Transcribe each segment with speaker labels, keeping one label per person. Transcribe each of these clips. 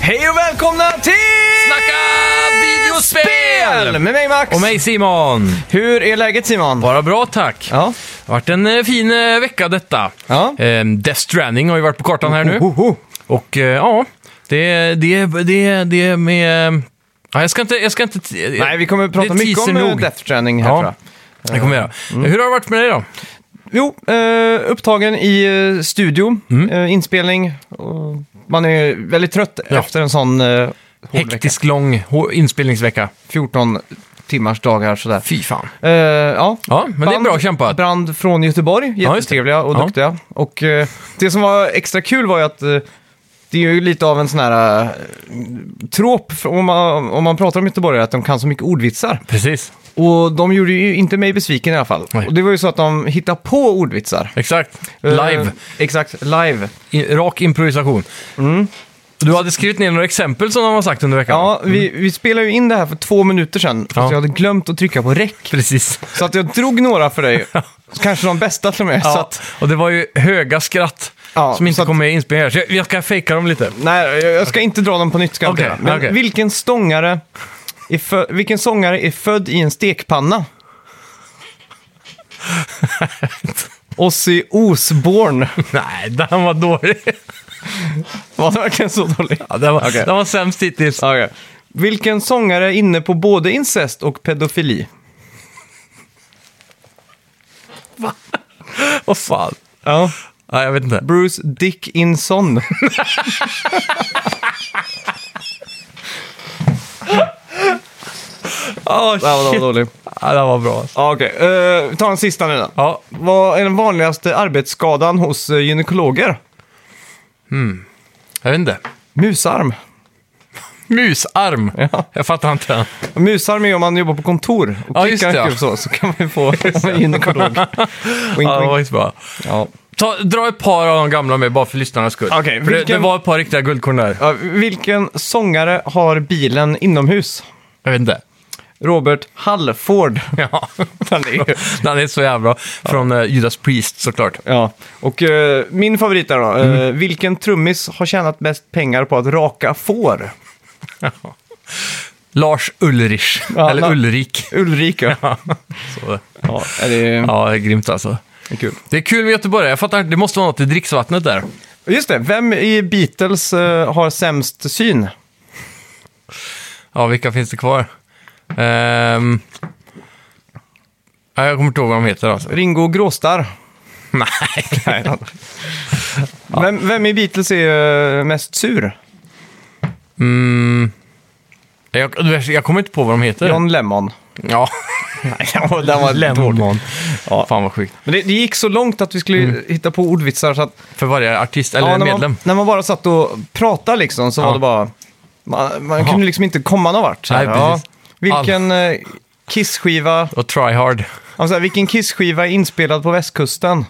Speaker 1: Hej och välkomna till
Speaker 2: Snacka videospel!
Speaker 1: Med mig Max!
Speaker 2: Och mig Simon.
Speaker 1: Hur är läget Simon?
Speaker 2: Bara bra tack.
Speaker 1: Ja.
Speaker 2: Det har varit en eh, fin eh, vecka detta.
Speaker 1: Ja.
Speaker 2: Eh, Death Stranding har ju varit på kartan här nu.
Speaker 1: Ho, ho.
Speaker 2: Och eh, ja, det, det, det, det med... eh, Ja, jag ska inte... Jag ska inte t-
Speaker 1: Nej, vi kommer att prata
Speaker 2: det
Speaker 1: mycket om
Speaker 2: teaser
Speaker 1: eh,
Speaker 2: nog.
Speaker 1: Death Stranding här
Speaker 2: Ja.
Speaker 1: tror jag.
Speaker 2: Det kommer jag göra.
Speaker 1: Mm.
Speaker 2: Hur har det varit med dig då?
Speaker 1: Jo, eh, upptagen i eh, studio,
Speaker 2: Mm.
Speaker 1: eh, inspelning. Och man är väldigt trött
Speaker 2: Ja.
Speaker 1: efter en sån eh, hård vecka.
Speaker 2: Hektisk lång hå- inspelningsvecka.
Speaker 1: 14 timmars dagar sådär.
Speaker 2: Fy fan.
Speaker 1: Eh, ja.
Speaker 2: Ja, men det är bra kämpat.
Speaker 1: Brand från Göteborg,
Speaker 2: det.
Speaker 1: jättetrevliga och
Speaker 2: Ja.
Speaker 1: duktiga. Och eh, det som var extra kul var ju att eh, det är ju lite av en sån här eh, trop för- om man, om man pratar om göteborgare, att de kan så mycket ordvitsar.
Speaker 2: Precis.
Speaker 1: Och de gjorde ju inte mig besviken i alla fall.
Speaker 2: Nej.
Speaker 1: Och det var ju så att de hittade på ordvitsar.
Speaker 2: Exakt.
Speaker 1: Eh,
Speaker 2: Live.
Speaker 1: exakt, live.
Speaker 2: I, rak improvisation. Du hade skrivit ner några exempel som de har sagt under veckan.
Speaker 1: Mm. Ja, vi, vi spelade ju in det här för två minuter sedan, fast
Speaker 2: Ja.
Speaker 1: jag hade glömt att trycka på räck.
Speaker 2: Precis.
Speaker 1: Så att jag drog några för dig, kanske de bästa till och med. Så
Speaker 2: Ja,
Speaker 1: att,
Speaker 2: och det var ju höga skratt
Speaker 1: Ja,
Speaker 2: som
Speaker 1: så
Speaker 2: inte
Speaker 1: att-
Speaker 2: kom med i inspelningen. Så jag, jag ska fejka dem lite.
Speaker 1: Nej, jag jag ska inte dra dem på nytt. Ska jag
Speaker 2: Okej,
Speaker 1: inte göra. Men
Speaker 2: okej.
Speaker 1: vilken, stångare är fö- vilken sångare är född i en stekpanna? Ozzy Osbourne.
Speaker 2: Nej, den var dålig.
Speaker 1: Var det verkligen så dåligt?
Speaker 2: Ja, den, var,
Speaker 1: Okej.
Speaker 2: den var sämst hittills.
Speaker 1: Okej. Vilken sångare är inne på både incest och pedofili?
Speaker 2: Vad fan.
Speaker 1: Ja.
Speaker 2: Nej, jag vet inte.
Speaker 1: Bruce Dickinson.
Speaker 2: Oh, shit.
Speaker 1: Ja, den var dålig.
Speaker 2: Ja, den var bra.
Speaker 1: Ja, Okej, Eh, vi tar en sista nu då.
Speaker 2: Ja,
Speaker 1: Vad är den vanligaste arbetsskadan hos eh, gynekologer?
Speaker 2: jag vet inte.
Speaker 1: Musarm.
Speaker 2: Musarm.
Speaker 1: Ja.
Speaker 2: Jag fattar inte den.
Speaker 1: Och Musarm är om man jobbar på kontor och
Speaker 2: Ja, just
Speaker 1: klickar en
Speaker 2: det, ja.
Speaker 1: kul så, så kan man ju få en gynekolog. Wink,
Speaker 2: Ja, det var
Speaker 1: wink.
Speaker 2: inte bra.
Speaker 1: Ja.
Speaker 2: Ta, dra ett par av de gamla med bara för lyssnarnas skull.
Speaker 1: Okej,
Speaker 2: för det,
Speaker 1: vilken-
Speaker 2: det var ett par riktiga guldkorn där.
Speaker 1: Ja, vilken sångare har bilen inomhus?
Speaker 2: Jag vet inte.
Speaker 1: Robert Hallford.
Speaker 2: Ja.
Speaker 1: Han är ju-
Speaker 2: Den är så jävla bra. Från eh, Judas Priest såklart.
Speaker 1: Ja, och eh, min favorit där då. eh,
Speaker 2: Mm.
Speaker 1: vilken trummis har tjänat mest pengar på att raka får?
Speaker 2: Lars Ulrich.
Speaker 1: Ja,
Speaker 2: Eller
Speaker 1: la-
Speaker 2: Ulrik.
Speaker 1: Ulrika. Ja,
Speaker 2: Så,
Speaker 1: är det är
Speaker 2: ja, det är grymt alltså.
Speaker 1: kul.
Speaker 2: Det är kul med Göteborg. Jag fattar inte, det måste vara något i dricksvattnet där.
Speaker 1: Just det, vem i Beatles eh, har sämst syn?
Speaker 2: Ja, vilka finns det kvar? Ehm... Ja, jag kommer inte ihåg vad de heter alltså.
Speaker 1: Ringo Gråstarr.
Speaker 2: Nej.
Speaker 1: Nej, då. vem, vem i Beatles är eh, mest sur?
Speaker 2: Mm. Jag, du vet, jag kommer inte på vad de heter.
Speaker 1: John Lemmon.
Speaker 2: Ja.
Speaker 1: Nej, den var, den var dålig.
Speaker 2: Ja. Fan vad sjukt.
Speaker 1: Men det, det gick så långt att vi skulle hitta på ordvitsar så att...
Speaker 2: För varje artist, Mm. eller
Speaker 1: när,
Speaker 2: medlem.
Speaker 1: man, när man bara satt och pratade liksom så
Speaker 2: Ja.
Speaker 1: var det bara... Man, man
Speaker 2: Jaha.
Speaker 1: kunde liksom inte komma någon vart. Så här,
Speaker 2: Nej, precis.
Speaker 1: vilken eh, Kiss-skiva...
Speaker 2: Och Try Hard.
Speaker 1: Alltså, här, vilken Kiss-skiva är inspelad på västkusten?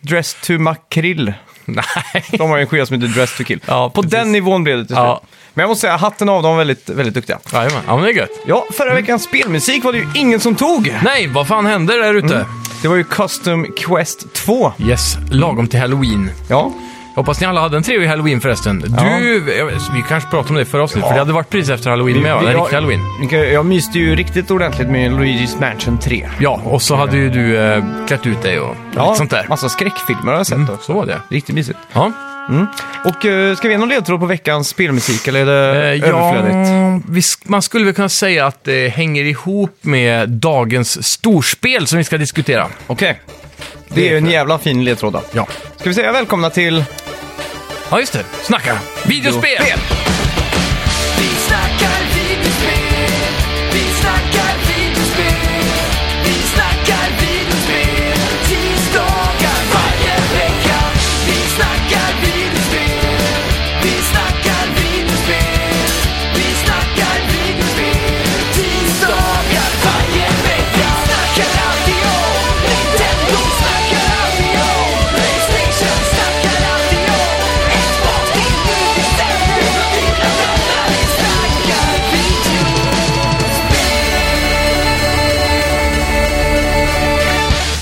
Speaker 1: Dress to Makrill.
Speaker 2: Nej.
Speaker 1: De har ju en skiva som heter Dress to Kill.
Speaker 2: Ja,
Speaker 1: på
Speaker 2: precis.
Speaker 1: den nivån blev det till slut.
Speaker 2: Ja.
Speaker 1: Men jag måste säga, hatten av dem var väldigt, väldigt duktiga.
Speaker 2: Jajamän. Ja, men det är gött.
Speaker 1: Ja, förra
Speaker 2: Mm.
Speaker 1: veckans spelmusik var det ju ingen som tog.
Speaker 2: Nej, vad fan händer där ute?
Speaker 1: Det var ju Custom Quest 2.
Speaker 2: Yes, lagom till Halloween.
Speaker 1: Ja,
Speaker 2: Jag hoppas ni alla hade en trevlig Halloween förresten. Du, jag vet- vi kanske pratade om det i förra avsnittet, för det hade varit precis efter Halloween med va? Den riktiga Halloween.
Speaker 1: Jag, jag myste ju riktigt ordentligt med Luigi's Mansion 3.
Speaker 2: Ja, och så hade ju du eh, klätt ut dig och lite sånt där. Mm,
Speaker 1: Massa skräckfilmer har jag sett också.
Speaker 2: Så var det.
Speaker 1: Riktigt mysigt.
Speaker 2: Ja.
Speaker 1: Och eh, ska vi ge någon ledtråd på veckans spelmusik eller är det
Speaker 2: Eh,
Speaker 1: överflödigt?
Speaker 2: ja, vi, sk- man skulle väl kunna säga att det hänger ihop med dagens storspel som vi ska diskutera.
Speaker 1: Okej. Det är ju en jävla fin ledtråd då.
Speaker 2: Ja.
Speaker 1: Ska vi säga välkomna till...
Speaker 2: Ja, just det. Snacka! Videospel!
Speaker 3: Vi snackar videospel, vi snackar videospel, vi snackar videospel, tisdagar varje vecka. Vi snackar videospel, vi snackar videospel, vi snackar videospel, tisdagar varje vecka. Snackar alltid om Nintendo, snackar alltid om Playstation, snackar alltid om Xbox, till nu december, fyra vänner, vi snackar video.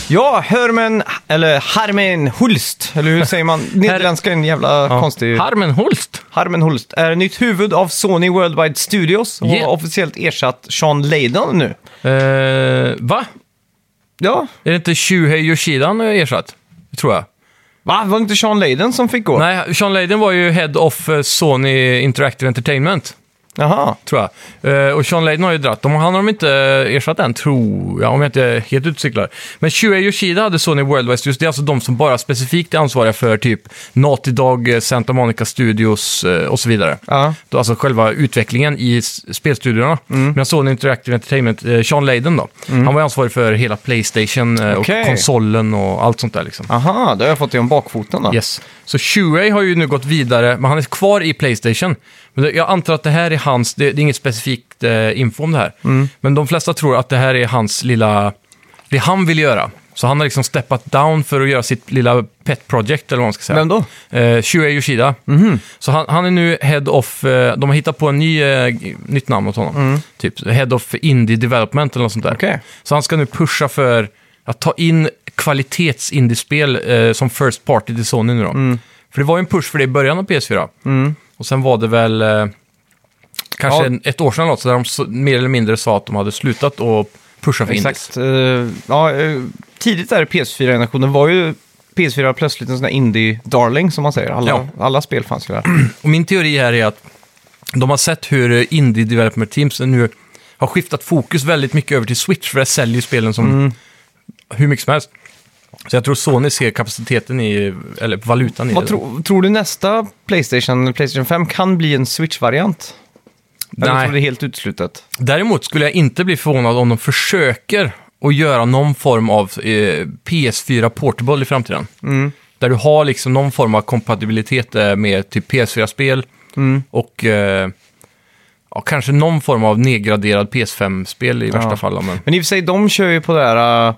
Speaker 1: Ja, Herman, eller Harmen Hulst. Eller hur säger man? Nederländska är en jävla konstig...
Speaker 2: Harmen Holst.
Speaker 1: Harmen Holst är nytt huvud av Sony Worldwide Studios och
Speaker 2: Yeah.
Speaker 1: har officiellt ersatt Sean Layden nu.
Speaker 2: Eh, va?
Speaker 1: Ja,
Speaker 2: Är det inte Shuhei Yoshida han har ersatt? Tror jag.
Speaker 1: va? Var det inte Sean Layden som fick gå?
Speaker 2: Nej, Sean Leiden var ju head of eh, Sony Interactive Entertainment,
Speaker 1: Jaha.
Speaker 2: tror jag. Eh, och Sean Leiden har ju dratt dem och han har de inte eh, ersatt än, tror jag, om jag inte är helt utcyklar. Men Shuhei Yoshida hade Sony Worldwide Studios, det är alltså de som bara specifikt är ansvariga för typ Naughty Dog, eh, Santa Monica Studios eh, och så vidare.
Speaker 1: Ja. Mm.
Speaker 2: Då Alltså själva utvecklingen i s- spelstudiorna. Men Sony Interactive Entertainment, eh, Sean Leiden då, han var ju ansvarig för hela Playstation eh,
Speaker 1: Okej.
Speaker 2: och konsolen och allt sånt där liksom.
Speaker 1: Aha, då har jag fått det om bakfoten då.
Speaker 2: Yes. Så Shuey har ju nu gått vidare, men han är kvar i Playstation. Men det- jag antar att det här är hans, det, det är inget specifikt eh, info om det här.
Speaker 1: Mm.
Speaker 2: Men de flesta tror att det här är hans lilla, det han vill göra. Så han har liksom steppat down för att göra sitt lilla pet project eller vad man ska säga.
Speaker 1: Vem då?
Speaker 2: Eh, Shuei Yoshida.
Speaker 1: Mhm.
Speaker 2: Så han, han är nu head of, eh, de har hittat på en ny, eh, g- nytt namn åt honom. Typ head of indie development eller något sånt där.
Speaker 1: Mm. Okej.
Speaker 2: Så han ska nu pusha för att ta in kvalitets-indiespel eh, som first party till Sony nu då.
Speaker 1: Mm.
Speaker 2: För det var ju en push för det i början av PS4. Och sen var det väl eh, kanske
Speaker 1: Ja.
Speaker 2: en, ett år sedan eller något, så där de så, mer eller mindre sa att de hade slutat att pusha för indies.
Speaker 1: Exakt. eh, ja, eh, tidigt där i PS4-generationen var ju PS4 plötsligt en sån där indie-darling som man säger. Alla,
Speaker 2: Ja.
Speaker 1: alla spel fanns ju där.
Speaker 2: Och min teori här är att de har sett hur eh, indie development teams nu har skiftat fokus väldigt mycket över till Switch, för det säljer ju spelen som
Speaker 1: Mm.
Speaker 2: hur mycket som helst. Så jag tror Sony ser kapaciteten i, eller valutan i
Speaker 1: Vad
Speaker 2: det.
Speaker 1: tro, tror du nästa Playstation, Playstation 5, kan bli en Switch-variant? Eller tror du det
Speaker 2: Nej.
Speaker 1: är helt uteslutet?
Speaker 2: Däremot skulle jag inte bli förvånad om de försöker att göra någon form av eh, PS4 Portable i framtiden.
Speaker 1: Mm.
Speaker 2: Där du har liksom någon form av kompatibilitet eh, med typ PS4-spel
Speaker 1: Mm.
Speaker 2: och eh, ja, kanske någon form av nedgraderad PS5-spel i värsta fall. Men...
Speaker 1: Men i och för sig, de kör ju på det här äh,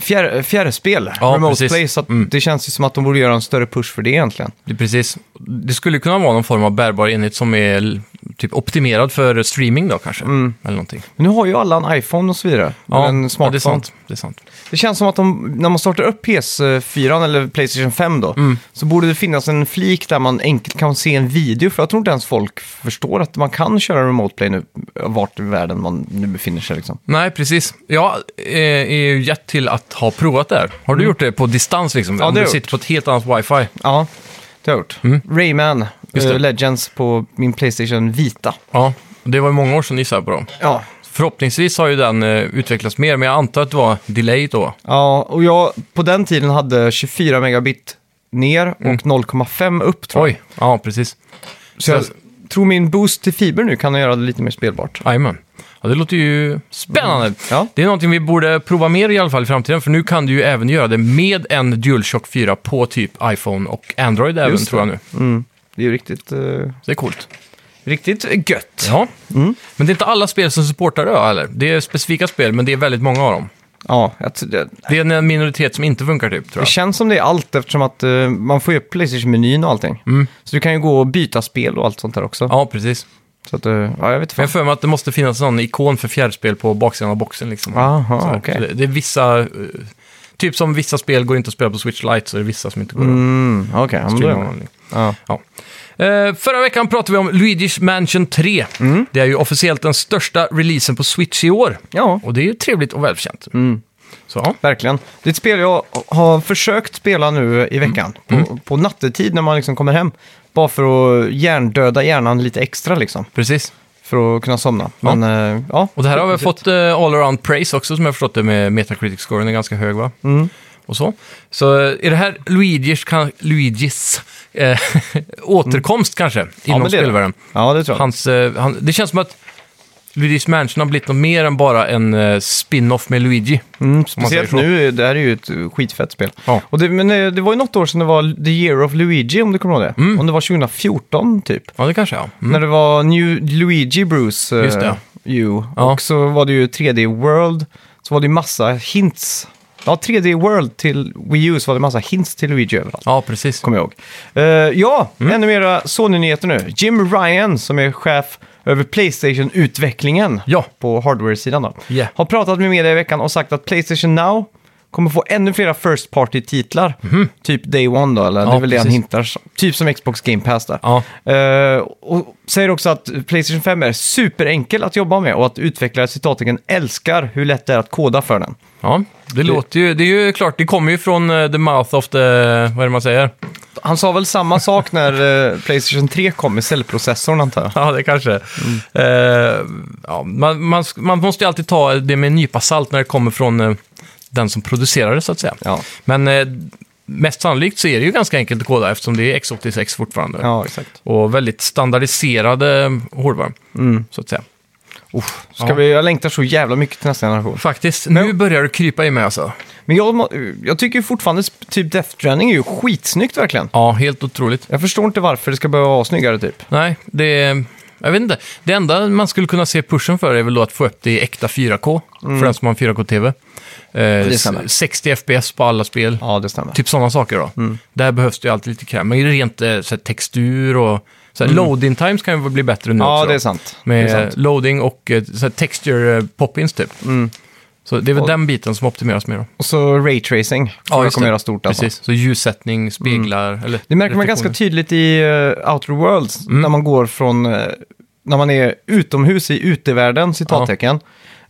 Speaker 1: fjär, fjärrspel,
Speaker 2: Ja,
Speaker 1: remote
Speaker 2: precis.
Speaker 1: play, så att
Speaker 2: Mm.
Speaker 1: det känns ju som att de borde göra en större push för det egentligen.
Speaker 2: Det, precis. det skulle kunna vara någon form av bärbar enhet som är l- typ optimerad för streaming då kanske. Eller någonting.
Speaker 1: Men nu har ju alla en iPhone och så vidare. eller Mm. en
Speaker 2: ja, det
Speaker 1: smartphone.
Speaker 2: är sant. Det är sant.
Speaker 1: Det känns som att de, när man startar upp PS4 eller Playstation 5 då,
Speaker 2: Mm.
Speaker 1: så borde det finnas en flik där man enkelt kan se en video. För jag tror inte ens folk förstår att man kan köra remote play nu, vart i världen man nu befinner sig liksom.
Speaker 2: Nej, precis. Jag eh, är ju gett till att ha provat det här. Har du gjort det på distans liksom?
Speaker 1: Mm. Ja,
Speaker 2: Om
Speaker 1: det har
Speaker 2: du
Speaker 1: jag
Speaker 2: sitter på ett helt annat wifi?
Speaker 1: Ja, det har jag gjort. Rayman,
Speaker 2: Mm. Just det.
Speaker 1: eh, Legends på min Playstation Vita.
Speaker 2: Ja. Det var ju många år sedan ni gissade på dem.
Speaker 1: Ja,
Speaker 2: Förhoppningsvis har ju den eh, utvecklats mer, men jag antar att det var delay då.
Speaker 1: Ja, och jag på den tiden hade 24 megabit ner och 0,5 upp tror jag.
Speaker 2: Oj, ja precis.
Speaker 1: Mm. Så jag tror min boost till fiber nu kan göra det lite mer spelbart.
Speaker 2: Jajamän. Ja, det låter ju spännande.
Speaker 1: Mm. Ja.
Speaker 2: Det är någonting vi borde prova mer i alla fall i framtiden, för nu kan du ju även göra det med en DualShock 4 på typ iPhone och Android även,
Speaker 1: Just
Speaker 2: tror jag nu.
Speaker 1: Det är ju riktigt, eh,
Speaker 2: Så det är coolt.
Speaker 1: riktigt eh, gött.
Speaker 2: Ja.
Speaker 1: Mm.
Speaker 2: Men det är inte alla spel som supportar Ö, eller? Det är specifika spel, men det är väldigt många av dem.
Speaker 1: Ja, jag tror det,
Speaker 2: Det är en minoritet som inte funkar typ,
Speaker 1: det
Speaker 2: tror jag.
Speaker 1: känns som det är allt eftersom att eh, man får ju upp Playstation-menyn och allting. Så du kan ju gå och byta spel och allt sånt där också.
Speaker 2: Ja, precis.
Speaker 1: Så att, eh, ja, jag vet
Speaker 2: Men
Speaker 1: fan.
Speaker 2: jag har för mig att det måste finnas någon ikon för fjärrspel på baksidan av boxen. Liksom.
Speaker 1: Aha,
Speaker 2: Så här.
Speaker 1: okej.
Speaker 2: Så det, det är vissa... eh, Typ som vissa spel går inte att spela på Switch Lite, så är det vissa som inte går att
Speaker 1: Mm, Okej, ja, men då är
Speaker 2: streama.
Speaker 1: jag med.
Speaker 2: någonting.
Speaker 1: ja.
Speaker 2: Ja. Eh, förra veckan pratade vi om Luigi's Mansion 3.
Speaker 1: Mm.
Speaker 2: Det är ju officiellt den största releasen på Switch i år.
Speaker 1: ja,
Speaker 2: Och det är ju trevligt och välförtjänt.
Speaker 1: Mm.
Speaker 2: Så, ja.
Speaker 1: Verkligen. Det är ett spel jag har försökt spela nu i veckan. På, på nattetid när man liksom kommer hem. Bara för att hjärndöda hjärnan lite extra liksom.
Speaker 2: Precis.
Speaker 1: För att kunna somna.
Speaker 2: Ja.
Speaker 1: Men eh, ja.
Speaker 2: Och det här har vi fått eh, all around praise också, som jag har förstått det med Metacritic-scoren är ganska hög va?
Speaker 1: Mm.
Speaker 2: Och så. Så eh, är det här Luigis, kan, Luigis eh, återkomst kanske inom
Speaker 1: Mm. men det är det.
Speaker 2: spelvärlden?
Speaker 1: Ja, det tror jag.
Speaker 2: Hans, eh, han, det känns som att Luigi's Mansion har blivit något mer än bara en eh, spin-off med Luigi.
Speaker 1: Mm,
Speaker 2: man säger
Speaker 1: speciellt
Speaker 2: så.
Speaker 1: nu, det här är ju ett eh, skitfett spel.
Speaker 2: Ja.
Speaker 1: Och det, men eh, det var ju något år sedan det var The Year of Luigi, om du kommer ihåg det. Om det var 2014 typ.
Speaker 2: Ja, det kanske ja. Mm.
Speaker 1: När det var New Luigi Bruce eh,
Speaker 2: Just det.
Speaker 1: You.
Speaker 2: Ja.
Speaker 1: Och så var det ju 3D World. Så var det ju massa hints. Ja, 3D World till Wii U så var det massa hints till Luigi överallt.
Speaker 2: Ja, precis.
Speaker 1: kommer jag ihåg. Eh, ja,
Speaker 2: Mm.
Speaker 1: ännu mera Sony-nyheter nu. Jim Ryan, som är chef över Playstation-utvecklingen
Speaker 2: Ja.
Speaker 1: på hardware-sidan, då,
Speaker 2: Yeah.
Speaker 1: har pratat med media i veckan och sagt att Playstation Now kommer få ännu flera first party-titlar. Typ Day One då, eller det
Speaker 2: Mhm. Ja,
Speaker 1: är väl det han
Speaker 2: precis.
Speaker 1: hintar. som- Typ som Xbox Game Pass där.
Speaker 2: Ja.
Speaker 1: Eh, och säger också att Playstation 5 är superenkel att jobba med och att utvecklare citattecken älskar hur lätt det är att koda för den.
Speaker 2: Ja, det, låter ju... Det är ju klart, det kommer ju från eh, the mouth of the... Vad är det man säger?
Speaker 1: Han sa väl samma sak när eh, Playstation 3 kom med cellprocessorn antar jag.
Speaker 2: Ja, det kanske. Eh, ja, man, man, sk- man måste ju alltid ta det med en nypa salt när det kommer från eh, den som producerar det, så att säga.
Speaker 1: Ja,
Speaker 2: Men eh, mest sannolikt så är det ju ganska enkelt att koda eftersom det är x86 fortfarande.
Speaker 1: ja exakt.
Speaker 2: Och väldigt standardiserade eh, hårdvaror,
Speaker 1: Mm.
Speaker 2: så att säga.
Speaker 1: Uff, ska
Speaker 2: Ja.
Speaker 1: vi, jag längtar så jävla mycket till nästa generation.
Speaker 2: Faktiskt, nu börjar du krypa i mig alltså.
Speaker 1: Men jag, må- jag tycker ju fortfarande sp- typ Death Stranding är ju skitsnyggt verkligen.
Speaker 2: Ja, helt otroligt.
Speaker 1: Jag förstår inte varför det ska behöva vara snyggare typ.
Speaker 2: Nej, det... Jag vet inte. Det enda man skulle kunna se pushen för är väl då att få upp det i äkta 4K, för den som har en 4K-TV. Eh,
Speaker 1: Mm. stämmer.
Speaker 2: s- 60 FPS på alla spel.
Speaker 1: Ja, det stämmer.
Speaker 2: Typ sådana saker då.
Speaker 1: Mm.
Speaker 2: Där behövs det ju alltid lite kräm. Men rent eh, så här, textur och så här, loading times kan ju väl bli bättre nu
Speaker 1: Mm. ja,
Speaker 2: också.
Speaker 1: det
Speaker 2: då.
Speaker 1: är sant.
Speaker 2: Med
Speaker 1: det är sant. Mm.
Speaker 2: loading och eh, så här, texture eh, pop-ins typ. Så det är väl
Speaker 1: Och-
Speaker 2: den biten som optimeras mer då.
Speaker 1: Och så raytracing. Ja, jag
Speaker 2: just
Speaker 1: kommer
Speaker 2: det.
Speaker 1: göra stort alltså. Mm.
Speaker 2: Precis, så ljussättning, speglar eller
Speaker 1: Det märker man ganska
Speaker 2: reflektioner.
Speaker 1: tydligt i eh, Outer Worlds när man går från, eh, när man är utomhus i utevärlden, citattecken.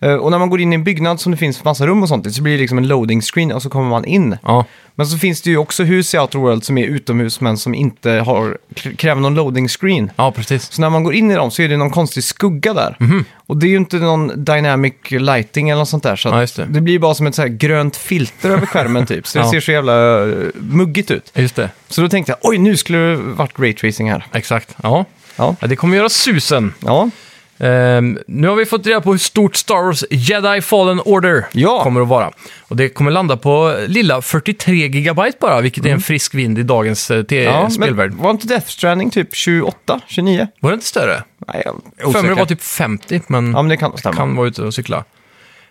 Speaker 1: Eh, och när man går in i en byggnad som det finns massa rum och sånt i, så blir det liksom en loading screen och så kommer man in.
Speaker 2: Ja,
Speaker 1: Men så finns det ju också hus i Outer Worlds som är utomhus men som inte har, kräver någon loading screen.
Speaker 2: ja precis.
Speaker 1: Så när man går in i dem så är det någon konstig skugga där.
Speaker 2: Mhm.
Speaker 1: Och det är ju inte någon dynamic lighting eller något sånt där. Så att
Speaker 2: Ja, just det.
Speaker 1: det blir bara som ett så här grönt filter över skärmen typ. Så det
Speaker 2: Ja.
Speaker 1: ser så jävla eh, muggigt ut.
Speaker 2: Just det,
Speaker 1: Så då tänkte jag, oj nu skulle det varit raytracing här.
Speaker 2: exakt. Ja.
Speaker 1: Ja.
Speaker 2: ja, det kommer göra susen.
Speaker 1: Ja,
Speaker 2: Ehm, nu har vi fått reda på hur stort Star Wars Jedi Fallen Order
Speaker 1: Ja.
Speaker 2: kommer att vara. Och det kommer landa på lilla 43 gigabyte bara, vilket är en frisk vind i dagens eh, te-
Speaker 1: Mm. ja
Speaker 2: spelvärld.
Speaker 1: Men var inte Death Stranding typ 28, 29?
Speaker 2: Var det inte större?
Speaker 1: Nej, jag är
Speaker 2: För mig
Speaker 1: osäker.
Speaker 2: det var typ 50, men
Speaker 1: Ja, men det kan stämma.
Speaker 2: kan vara ute och cykla.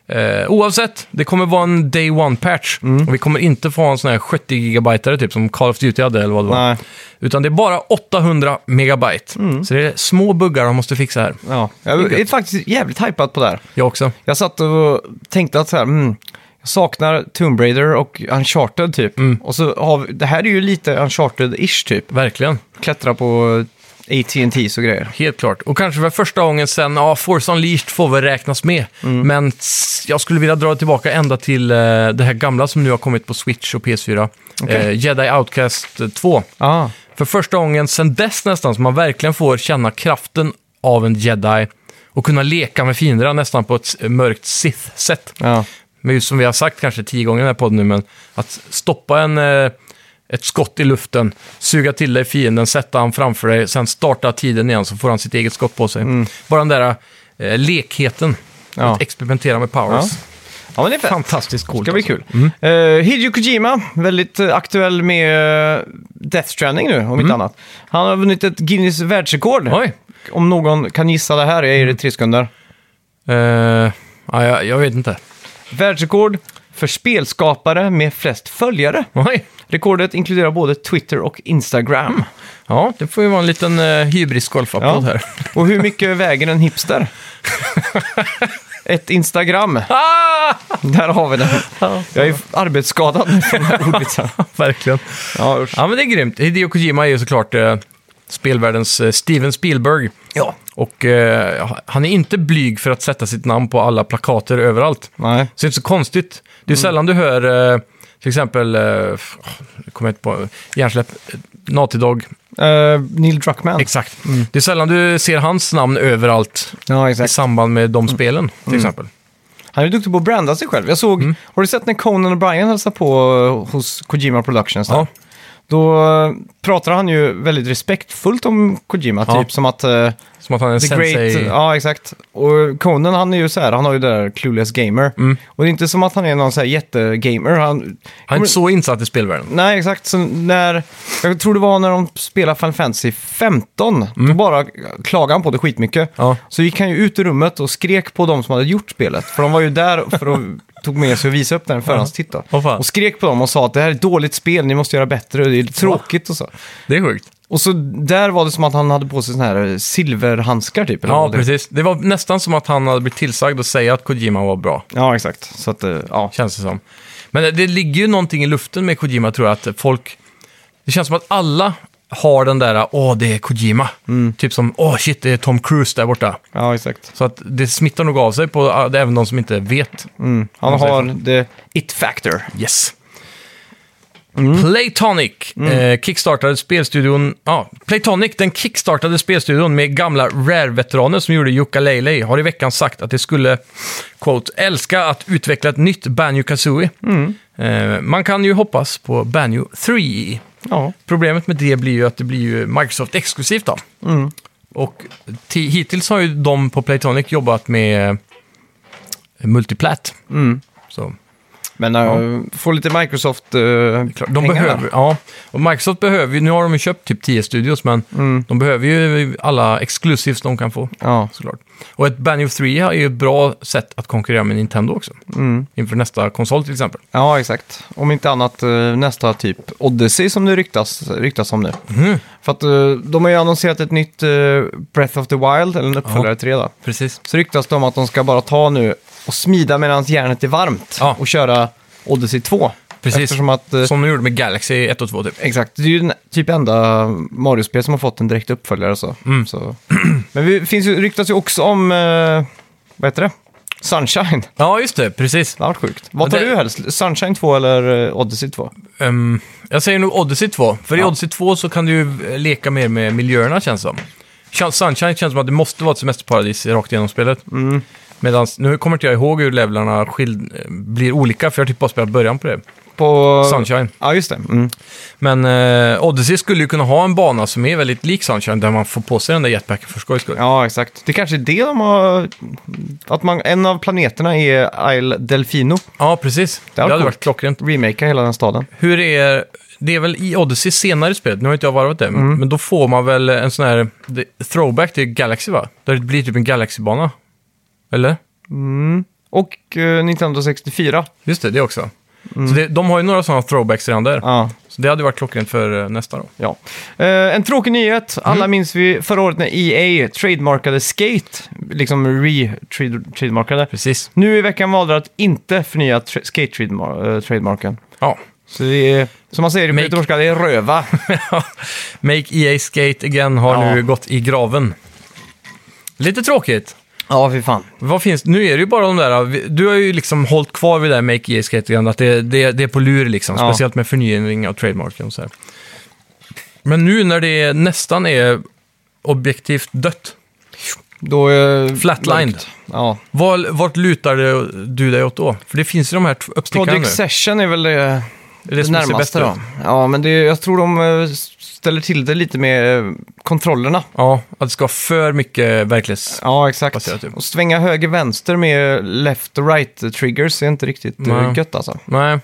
Speaker 2: Eh, oavsett, det kommer vara en Day One-patch.
Speaker 1: Mm.
Speaker 2: Och vi kommer inte få ha en sån här 70 gigabyte typ som Call of Duty hade eller vad det var.
Speaker 1: Nej, Mm.
Speaker 2: Utan det är bara 800 megabyte. Så det är små buggar de måste fixa här.
Speaker 1: ja. Jag är faktiskt jävligt hypad på det här.
Speaker 2: Jag också.
Speaker 1: Jag satt och tänkte att så här, mm, jag saknar Tomb Raider och Uncharted typ. Och så har vi, det här är ju lite Uncharted-ish typ.
Speaker 2: Verkligen.
Speaker 1: Klättra på AT&T och grejer.
Speaker 2: Helt klart. Och kanske för första gången sen, ja, Force Unleashed får väl räknas med. Men s- jag skulle vilja dra det tillbaka ända till eh, det här gamla som nu har kommit på Switch och PS4. Eh, Jedi Outcast 2.
Speaker 1: Ja,
Speaker 2: För första gången sen dess nästan som man verkligen får känna kraften av en jedi och kunna leka med fienderna nästan på ett s- mörkt Sith-sätt.
Speaker 1: ja.
Speaker 2: Men just som vi har sagt kanske tio gånger i den här podden nu, men att stoppa en, eh, ett skott i luften, suga till dig fienden, sätta han framför dig, sen starta tiden igen så får han sitt eget skott på sig. Bara den där eh, lekheten,
Speaker 1: Mm. Ja.
Speaker 2: att experimentera med powers.
Speaker 1: ja men det är fett.
Speaker 2: Fantastiskt coolt.
Speaker 1: Det ska bli
Speaker 2: alltså.
Speaker 1: kul. Eh, Hideo Kojima, väldigt eh, aktuell med eh, Death Stranding nu, om inte annat. Han har vunnit ett Guinness världsrekord.
Speaker 2: Oj!
Speaker 1: Om någon kan gissa det här, jag ger det tre sekunder.
Speaker 2: Eh, ja, jag, jag vet inte.
Speaker 1: Världsrekord för spelskapare med flest följare.
Speaker 2: Oj!
Speaker 1: Rekordet inkluderar både Twitter och Instagram.
Speaker 2: Ja, det får ju vara en liten eh, hybris-golfapplåd här.
Speaker 1: Och hur mycket väger en hipster? Ett Instagram.
Speaker 2: Ah!
Speaker 1: Där har vi den. Jag är arbetsskadad nu från de här ordvitsarna.
Speaker 2: Verkligen.
Speaker 1: Ja, usch.
Speaker 2: Ja, men det är grymt. Hideo Kojima är ju såklart eh, spelvärldens eh, Steven Spielberg.
Speaker 1: Ja.
Speaker 2: Och eh, han är inte blyg för att sätta sitt namn på alla plakater överallt.
Speaker 1: Nej.
Speaker 2: Så det är inte så konstigt. Det är sällan du hör eh, till exempel, eh, f- åh, nu kommer jag inte på, hjärnsläpp, eh, Naughty Dog.
Speaker 1: Eh, Neil Druckmann.
Speaker 2: Exakt. Det är sällan du ser hans namn överallt
Speaker 1: ja,
Speaker 2: i samband med de spelen, till exempel.
Speaker 1: Han är duktig på att branda sig själv. Jag såg,
Speaker 2: Mm.
Speaker 1: har du sett när Conan och Brian hälsade på eh, hos Kojima Productions? Där?
Speaker 2: Ja.
Speaker 1: Då eh, pratar han ju väldigt respektfullt om Kojima,
Speaker 2: Ja.
Speaker 1: typ som att... eh,
Speaker 2: Som att han är en
Speaker 1: The
Speaker 2: sensei.
Speaker 1: Great, eh, ja exakt. Och Conan han är ju så här, han har ju det där Clueless Gamer. Och det är inte som att han är någon så här jättegamer. Han,
Speaker 2: Mm. Han är inte så insatt i spelvärlden.
Speaker 1: Nej, exakt. Så när, jag tror det var när de spelade Final Fantasy 15, då bara klagade han på det skitmycket.
Speaker 2: Mm. Ja.
Speaker 1: Så gick han ju ut ur rummet och skrek på de som hade gjort spelet. För de var ju där för att tog med sig och visa upp den förhandstitt. då.
Speaker 2: Åh, fan.
Speaker 1: och skrek på dem och sa att det här är ett dåligt spel, ni måste göra bättre, det är tråkigt och så.
Speaker 2: Det är sjukt.
Speaker 1: Och så där var det som att han hade på sig såna här silverhandskar typ. eller
Speaker 2: Ja,
Speaker 1: vad det-
Speaker 2: precis. Det var nästan som att han hade blivit tillsagd att säga att Kojima var bra,
Speaker 1: Ja, exakt. Så att, eh, ja.
Speaker 2: känns det som. Men det- det ligger ju någonting i luften med Kojima tror jag, att folk... Det känns som att alla har den där, åh, det är Kojima. Typ som, åh, shit, det är Tom Cruise där borta.
Speaker 1: Ja, exakt.
Speaker 2: Så att det smittar nog av sig på ah, det är även de som inte vet.
Speaker 1: Mm. Han
Speaker 2: Man säger
Speaker 1: har the it factor.
Speaker 2: Yes. Playtonic eh, kickstartade spelstudion... Ja, Playtonic den kickstartade spelstudion med gamla Rare-veteraner som gjorde Jukka Leilei. Har i veckan sagt att det skulle, quote, älska att utveckla ett nytt Banjo Kazooie. Eh, man kan ju hoppas på Banjo 3.
Speaker 1: Ja.
Speaker 2: Problemet med det blir ju att det blir ju Microsoft exklusivt då. Och ti- hittills har ju de på Playtonic jobbat med eh, multiplat. Så.
Speaker 1: Men uh, får lite Microsoft uh,
Speaker 2: eh, Klart, de behöver, ja. Och Microsoft behöver ju, nu har de ju köpt typ 10 studios, men de behöver ju alla exclusives de kan få.
Speaker 1: Ja.
Speaker 2: Såklart. Och ett Banjo 3 är ju ett bra sätt att konkurrera med Nintendo också. Inför nästa konsol till exempel.
Speaker 1: ja, exakt. Om inte annat eh, nästa typ Odyssey som det ryktas, ryktas om nu.
Speaker 2: Mhm.
Speaker 1: För att eh, de har ju annonserat ett nytt eh, Breath of the Wild, eller en uppföljare till det då.
Speaker 2: Precis.
Speaker 1: Så ryktas det om att de ska bara ta nu och smida medan järnet är varmt
Speaker 2: Ja.
Speaker 1: och köra Odyssey 2.
Speaker 2: Precis.
Speaker 1: Eftersom att... eh,
Speaker 2: Som de gjorde med Galaxy 1 och 2 typ.
Speaker 1: Exakt, det är ju den typ enda Mario-spel som har fått en direkt uppföljare. Så.
Speaker 2: Mm.
Speaker 1: Så. Men det finns ju, ryktas ju också om, eh, vad heter det? Sunshine.
Speaker 2: Ja, just det. Precis.
Speaker 1: Det har varit sjukt. Vad tar
Speaker 2: Men det-
Speaker 1: du helst? Sunshine 2 eller eh, Odyssey 2?
Speaker 2: Ehm, jag säger nog Odyssey 2. För i
Speaker 1: Ja.
Speaker 2: Odyssey 2 så kan du ju eh, leka mer med miljöerna känns det som. Ch- Sunshine känns som att det måste vara ett semesterparadis rakt igenom spelet.
Speaker 1: Mm.
Speaker 2: Medan, nu kommer inte jag ihåg hur levlarna skild, eh, blir olika, för jag har typ bara spelat början på det.
Speaker 1: På...
Speaker 2: Sunshine.
Speaker 1: Ja, just det. Mm.
Speaker 2: Men eh, Odyssey skulle ju kunna ha en bana som är väldigt lik Sunshine, där man får på sig den där jetpacken för skojs skull.
Speaker 1: Ja, exakt. Det kanske är det de har... Att man, en av planeterna är Isle Delfino.
Speaker 2: Ja, precis. Det,
Speaker 1: Det hade
Speaker 2: hade
Speaker 1: coolt.
Speaker 2: varit klockrent.
Speaker 1: Remaka hela den staden.
Speaker 2: Hur är... Det är väl i Odyssey senare i spelet, nu har inte jag varvat det,
Speaker 1: Mm.
Speaker 2: men då får man väl en sån här det- throwback till Galaxy va? Där det blir typ en Galaxy-bana. Eller?
Speaker 1: Och eh, Nintendo 64.
Speaker 2: Just det, det också. Så det, de har ju några sådana throwbacks redan där.
Speaker 1: Mm. Ja.
Speaker 2: Så det hade varit klockrent för eh, nästa då.
Speaker 1: Ja. Eh, en tråkig nyhet. Alla
Speaker 2: Mm.
Speaker 1: minns vi förra året när EA trademarkade Skate. Liksom re-trademarkade.
Speaker 2: Precis.
Speaker 1: Nu i veckan valde de att inte förnya tra- Skate-trademarken.
Speaker 2: Ja.
Speaker 1: Så det är, som man säger i
Speaker 2: Make-
Speaker 1: göteborgska, det är röva.
Speaker 2: Make EA Skate Again har
Speaker 1: Ja.
Speaker 2: nu gått i graven. Lite tråkigt.
Speaker 1: ja, fy fan.
Speaker 2: Vad finns, nu är det ju bara de där, du har ju liksom hållit kvar vid det där Make E EA Skate Again, att det, det, det är på lur liksom,
Speaker 1: Ja.
Speaker 2: speciellt med förnyring av trademarken och så här. Men nu när det nästan är objektivt dött,
Speaker 1: Då är...
Speaker 2: flatlined,
Speaker 1: Ja.
Speaker 2: var, vart lutar det, du dig åt då? För det finns ju de här t- uppstickarna nu.
Speaker 1: Project Session är väl det, det,
Speaker 2: som ser bäst
Speaker 1: närmaste
Speaker 2: ut.
Speaker 1: då. Ja, men det, jag tror de eh, ställer till det lite med eh, kontrollerna.
Speaker 2: Ja, att det ska vara för mycket verklighets...
Speaker 1: Ja, exakt.
Speaker 2: Baserat, typ.
Speaker 1: Och svänga höger-vänster med left och right-triggers är inte riktigt Nej.
Speaker 2: Nej.
Speaker 1: gött alltså.
Speaker 2: Nej.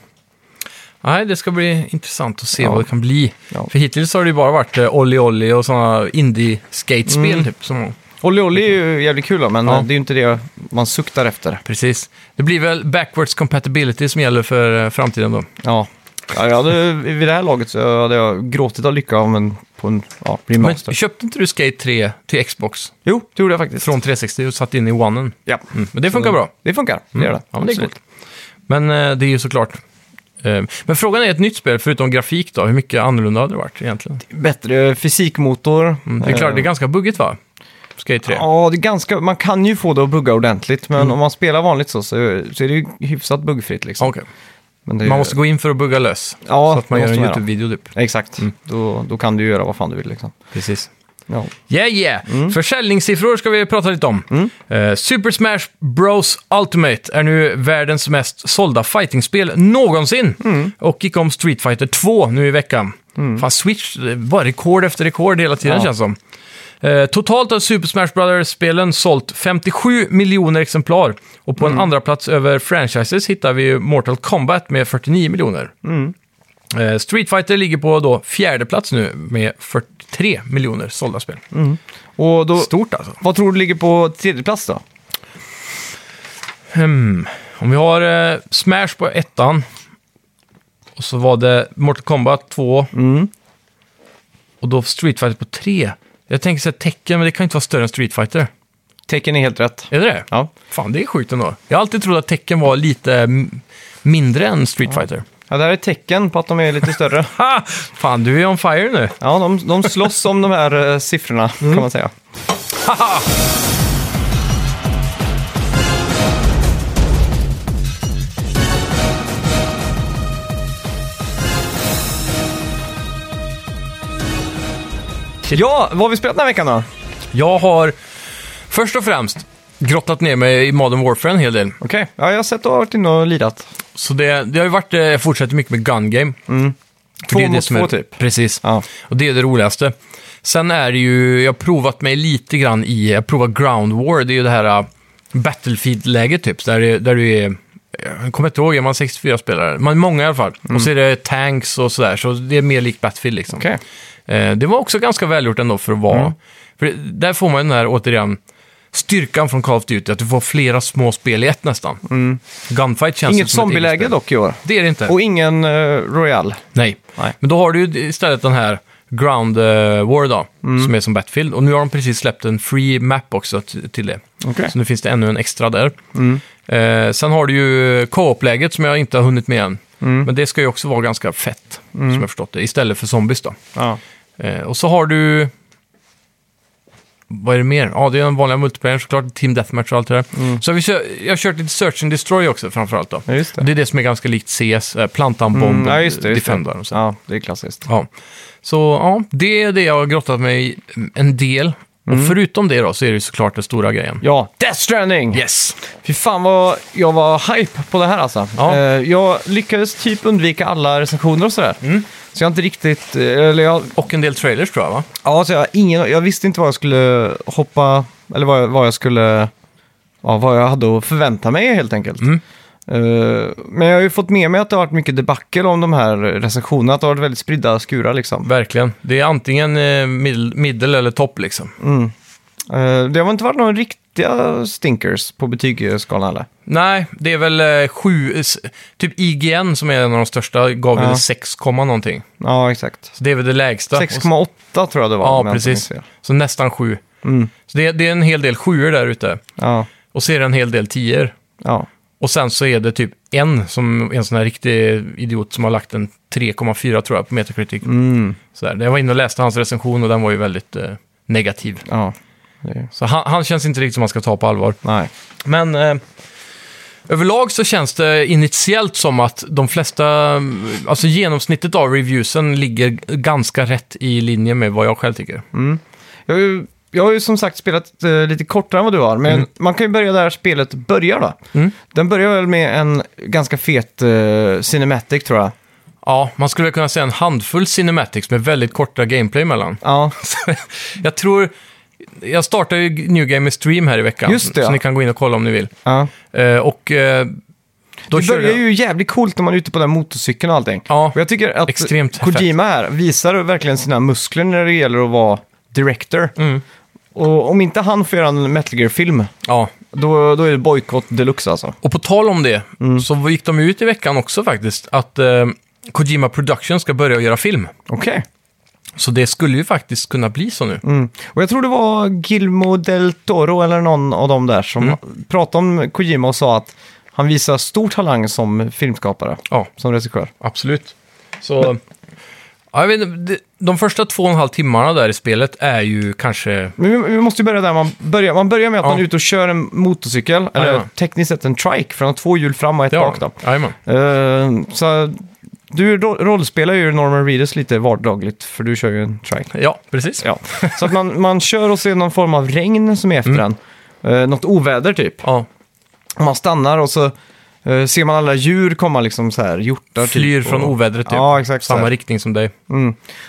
Speaker 2: Nej, det ska bli intressant att se
Speaker 1: Ja.
Speaker 2: vad det kan bli.
Speaker 1: Ja.
Speaker 2: För hittills har det ju bara varit eh, Olli Olli och sådana indie-skatespel
Speaker 1: Mm.
Speaker 2: typ. Som,
Speaker 1: Olli Olli är ju jävligt kul då, men
Speaker 2: Ja.
Speaker 1: eh, det är ju inte det man suktar efter.
Speaker 2: precis. Det blir väl backwards compatibility som gäller för eh, framtiden då.
Speaker 1: Ja. Ja, jag hade, vid det här laget så hade jag gråtit av lycka om en, på en ja, remaster.
Speaker 2: Men köpte inte du Skate 3 till Xbox
Speaker 1: jo, det gjorde jag faktiskt.
Speaker 2: från 360 och satt in i Onen?
Speaker 1: Ja.
Speaker 2: Mm. Men det funkar bra.
Speaker 1: Det funkar, det gör det.
Speaker 2: Mm. Ja, men det är
Speaker 1: Mm. Absolut.
Speaker 2: coolt. Men eh, det är ju såklart... eh, Men frågan är ett nytt spel, förutom grafik då, hur mycket annorlunda hade det varit egentligen?
Speaker 1: Bättre fysikmotor.
Speaker 2: Mm, Det är klart, det är
Speaker 1: Eh,
Speaker 2: ganska buggigt va? Skate 3.
Speaker 1: Ja, det är ganska, man kan ju få det att bugga ordentligt, men
Speaker 2: Mm.
Speaker 1: om man spelar vanligt så, så, så är det ju hyfsat buggfritt. Liksom.
Speaker 2: Okej.
Speaker 1: Men det är-
Speaker 2: Man måste gå in för att bugga lös.
Speaker 1: Ja,
Speaker 2: så att man
Speaker 1: det
Speaker 2: gör
Speaker 1: måste
Speaker 2: en
Speaker 1: man göra.
Speaker 2: YouTube-video typ.
Speaker 1: Exakt, då, då kan du göra vad fan du vill. Liksom.
Speaker 2: Precis.
Speaker 1: Ja.
Speaker 2: Yeah, yeah! Försäljningssiffror ska vi prata lite om. Eh, Super Smash Bros Ultimate är nu världens mest sålda fightingspel någonsin. Och gick om Street Fighter 2 nu i veckan. Fan, Switch, det var rekord efter rekord hela tiden
Speaker 1: Ja.
Speaker 2: känns som. Eh, totalt har Super Smash Brothers-spelen sålt 57 miljoner exemplar. Och på en andra plats över franchises hittar vi ju Mortal Kombat med 49 miljoner. Eh, Street Fighter ligger på då fjärde plats nu med 43 miljoner sålda spel.
Speaker 1: Och då,
Speaker 2: Stort alltså.
Speaker 1: vad tror du ligger på tredje plats då?
Speaker 2: Hmm. Om vi har eh, Smash på ettan. Och så var det Mortal Kombat 2.
Speaker 1: Mm.
Speaker 2: Och då Street Fighter på 3. Jag tänker säga tecken, men det kan ju inte vara större än Street Fighter.
Speaker 1: Tecken är helt rätt.
Speaker 2: Är det det?
Speaker 1: Ja.
Speaker 2: Fan, det är sjukt ändå. Jag har alltid trott att tecken var lite mm, mindre än Street Fighter.
Speaker 1: ja, det här är tecken på att de är lite större.
Speaker 2: Ha! Fan, du är on fire nu.
Speaker 1: Ja, de, de slåss om de här eh, siffrorna kan man säga. Ja, vad har vi spelat den här veckan då?
Speaker 2: Jag har först och främst grottat ner mig i Modern Warfare en hel del.
Speaker 1: Okej, ja, jag har sett och varit inne och lirat.
Speaker 2: Så det, det har ju varit, eh, jag fortsätter mycket med Gun Game. För
Speaker 1: Mm. Två
Speaker 2: det är det
Speaker 1: mot
Speaker 2: som
Speaker 1: två
Speaker 2: är,
Speaker 1: typ.
Speaker 2: Precis.
Speaker 1: Ja.
Speaker 2: Och det är det roligaste. Sen är det ju, jag har provat mig lite grann i, jag provar Ground War, det är ju det här äh, Battlefield-läget typ, där, det- där du är, jag kommer inte ihåg, är man 64 spelare? Man är många i alla fall. Och så är det tanks och sådär, så det är mer likt Battlefield liksom.
Speaker 1: Mm. Okej. Mm.
Speaker 2: Eh, det var också ganska välgjort ändå för att vara, för det- där får man ju den här, återigen, styrkan från Call of Duty, att du får flera små spel i ett nästan. Gunfight känns
Speaker 1: Mm. Inget
Speaker 2: ju som ett eget
Speaker 1: zombieläge
Speaker 2: spel.
Speaker 1: dock i år.
Speaker 2: Det är det inte.
Speaker 1: Och ingen uh, Royal.
Speaker 2: Nej.
Speaker 1: Nej.
Speaker 2: Men då har du ju istället den här Ground eh, War då,
Speaker 1: Mm.
Speaker 2: som är som Battlefield. Och nu har de precis släppt en free map också t- till det.
Speaker 1: Okej. Mm.
Speaker 2: Så nu finns det ännu en extra där. Eh, sen har du ju co-op-läget som jag inte har hunnit med än.
Speaker 1: Mm.
Speaker 2: Men det ska ju också vara ganska fett, som jag förstått det. Istället för zombies då.
Speaker 1: Ja.
Speaker 2: Eh, och så har du... Vad är det mer? Ja, det är den vanliga multiplayer såklart. Team Deathmatch och allt det där. Så har vi kö- jag har kört lite Search and Destroy också framförallt då.
Speaker 1: Mm. Ja, just det.
Speaker 2: Och det är det som är ganska likt CS, eh, plantan, bomb,
Speaker 1: Mm, ja, just det. Just
Speaker 2: Defender
Speaker 1: det.
Speaker 2: och så.
Speaker 1: Ja, det är klassiskt.
Speaker 2: Ja. Så ja, det är det jag har grottat mig i en del. Och förutom det då så är det ju såklart den stora grejen.
Speaker 1: Ja, Death Stranding!
Speaker 2: Yes!
Speaker 1: Fy fan vad jag var hype på det här alltså.
Speaker 2: Ja.
Speaker 1: Eh, jag lyckades typ undvika alla recensioner och sådär.
Speaker 2: Mm.
Speaker 1: Så jag har inte riktigt, eh, eller jag,
Speaker 2: Och en del trailers tror jag va?
Speaker 1: ja, så jag, har ingen, jag visste inte vad jag skulle hoppa, eller vad jag, vad jag skulle, ja, vad jag hade att förvänta mig helt enkelt.
Speaker 2: Mm.
Speaker 1: Eh, men jag har ju fått med mig att det har varit mycket debacle om de här recensionerna, att det har varit väldigt spridda skurar liksom.
Speaker 2: Verkligen. Det är antingen eh, middel, middel eller topp liksom.
Speaker 1: Eh, det har väl inte varit några riktiga stinkers på betygsskalan eller?
Speaker 2: Nej, det är väl eh, sju... s- Typ IGN som är en av de största gav väl
Speaker 1: Ja.
Speaker 2: 6, komma någonting.
Speaker 1: Ja, exakt.
Speaker 2: Så det är väl det lägsta. Och så-
Speaker 1: 6,8 tror jag det var. om
Speaker 2: Ja,
Speaker 1: jag inte minns
Speaker 2: precis.
Speaker 1: fel.
Speaker 2: Så nästan sju.
Speaker 1: Mm.
Speaker 2: Så det, det är en hel del sjuor där ute.
Speaker 1: Ja,
Speaker 2: Och så är det en hel del tior.
Speaker 1: ja.
Speaker 2: Och sen så är det typ en som en sån här riktig idiot som har lagt en 3,4 tror jag på Metacritic.
Speaker 1: Mm.
Speaker 2: Sådär. Jag var inne och läste hans recension och den var ju väldigt eh, negativ.
Speaker 1: Ja. Det,
Speaker 2: Så han, han känns inte riktigt som man ska ta på allvar.
Speaker 1: nej.
Speaker 2: Men eh, överlag så känns det initiellt som att de flesta, mm, alltså genomsnittet av reviewsen ligger ganska rätt i linje med vad jag själv tycker.
Speaker 1: Jag, har ju- jag har ju som sagt spelat eh, lite kortare än vad du har, men man kan ju börja där spelet börjar då.
Speaker 2: Mm.
Speaker 1: Den börjar väl med en ganska fet eh, cinematic tror jag.
Speaker 2: Ja, man skulle väl kunna säga en handfull cinematics med väldigt korta gameplay mellan.
Speaker 1: Ja,
Speaker 2: jag tror... Jag startar ju New Game med Stream här i veckan.
Speaker 1: Just det, ja.
Speaker 2: Så ni kan gå in och kolla om ni vill.
Speaker 1: ja.
Speaker 2: Eh, och... eh, då
Speaker 1: det
Speaker 2: kör
Speaker 1: börjar
Speaker 2: jag-
Speaker 1: ju jävligt coolt när man är ute på den motorcykeln och allting.
Speaker 2: Ja,
Speaker 1: Och jag tycker att
Speaker 2: Extremt
Speaker 1: Kojima här visar verkligen sina muskler när det gäller att vara director.
Speaker 2: Mm.
Speaker 1: Och om inte han får göra en Metal Gear-film,
Speaker 2: ja.
Speaker 1: då, då är det bojkott deluxe alltså.
Speaker 2: Och på tal om det,
Speaker 1: Mm.
Speaker 2: så gick de ut i veckan också faktiskt att eh, Kojima Production ska börja göra film.
Speaker 1: Okej.
Speaker 2: Så det skulle ju faktiskt kunna bli så nu.
Speaker 1: Mm. Och jag tror det var Gilmo del Toro eller någon av dem där
Speaker 2: Mm.
Speaker 1: som pratade om Kojima och sa att han visar stor talang som filmskapare,
Speaker 2: Ja,
Speaker 1: som regissör.
Speaker 2: absolut. Så... Ja, jag vet, inte, det- de första två och en halv timmarna där i spelet är ju kanske...
Speaker 1: Men vi, vi måste ju börja där man börjar. Man börjar med att
Speaker 2: Ja.
Speaker 1: man är ute och kör en motorcykel, eller
Speaker 2: Jajamän.
Speaker 1: tekniskt sett en trike, för han har två hjul fram och ett bak. Då.
Speaker 2: jajamän.
Speaker 1: Eh, så du ro- rollspelar ju Norman Reedus lite vardagligt, för du kör ju en trike.
Speaker 2: ja, precis.
Speaker 1: Ja. Så att man, man kör och ser någon form av regn som är efter
Speaker 2: Mm.
Speaker 1: en. Eh, något oväder typ.
Speaker 2: Ja,
Speaker 1: Och man stannar och så eh, ser man alla djur komma liksom så här, hjortar
Speaker 2: flyr
Speaker 1: typ.
Speaker 2: från
Speaker 1: och,
Speaker 2: ovädret typ.
Speaker 1: Ja, exakt så
Speaker 2: Samma
Speaker 1: här.
Speaker 2: riktning som dig.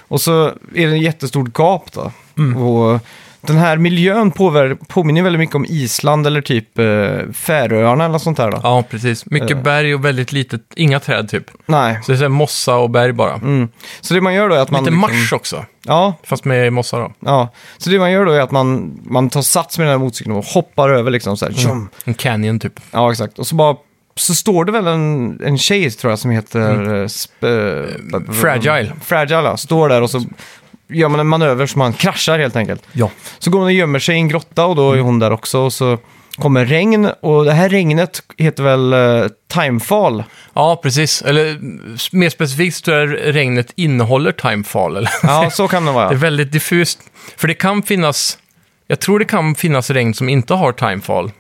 Speaker 1: och så är det ett jättestort gap då.
Speaker 2: Mm.
Speaker 1: Och den här miljön påver- påminner väldigt mycket om Island eller typ eh, Färöarna eller sånt där då.
Speaker 2: Ja, precis. Mycket
Speaker 1: Eh.
Speaker 2: berg och väldigt litet, inga träd typ.
Speaker 1: Nej. Mm.
Speaker 2: Så det är så här mossa och berg bara.
Speaker 1: Så det man gör då är att man...
Speaker 2: Lite
Speaker 1: liksom-
Speaker 2: marsch också,
Speaker 1: Ja,
Speaker 2: fast med mossa då.
Speaker 1: ja. Så det man gör då är att man, man tar sats med den här motorcykeln och hoppar över liksom så här.
Speaker 2: Mm.
Speaker 1: tjom.
Speaker 2: En canyon typ.
Speaker 1: Ja, exakt. Och så bara... Så står det väl en, en tjej, tror jag, som heter... eh, Sp- eh,
Speaker 2: Mm. Fragile.
Speaker 1: Fragile, ja. Står där och så gör man en manöver som han kraschar helt enkelt.
Speaker 2: Ja.
Speaker 1: Så går hon och gömmer sig i en grotta och då
Speaker 2: Mm.
Speaker 1: är hon där också. Och så kommer regn och det här regnet heter väl eh, Timefall?
Speaker 2: ja, precis. Eller mm, mer specifikt tror jag regnet innehåller timefall. Eller?
Speaker 1: Ja, så kan det
Speaker 2: Det är
Speaker 1: vara.
Speaker 2: väldigt diffust. För det kan finnas, jag tror det kan finnas regn som inte har timefall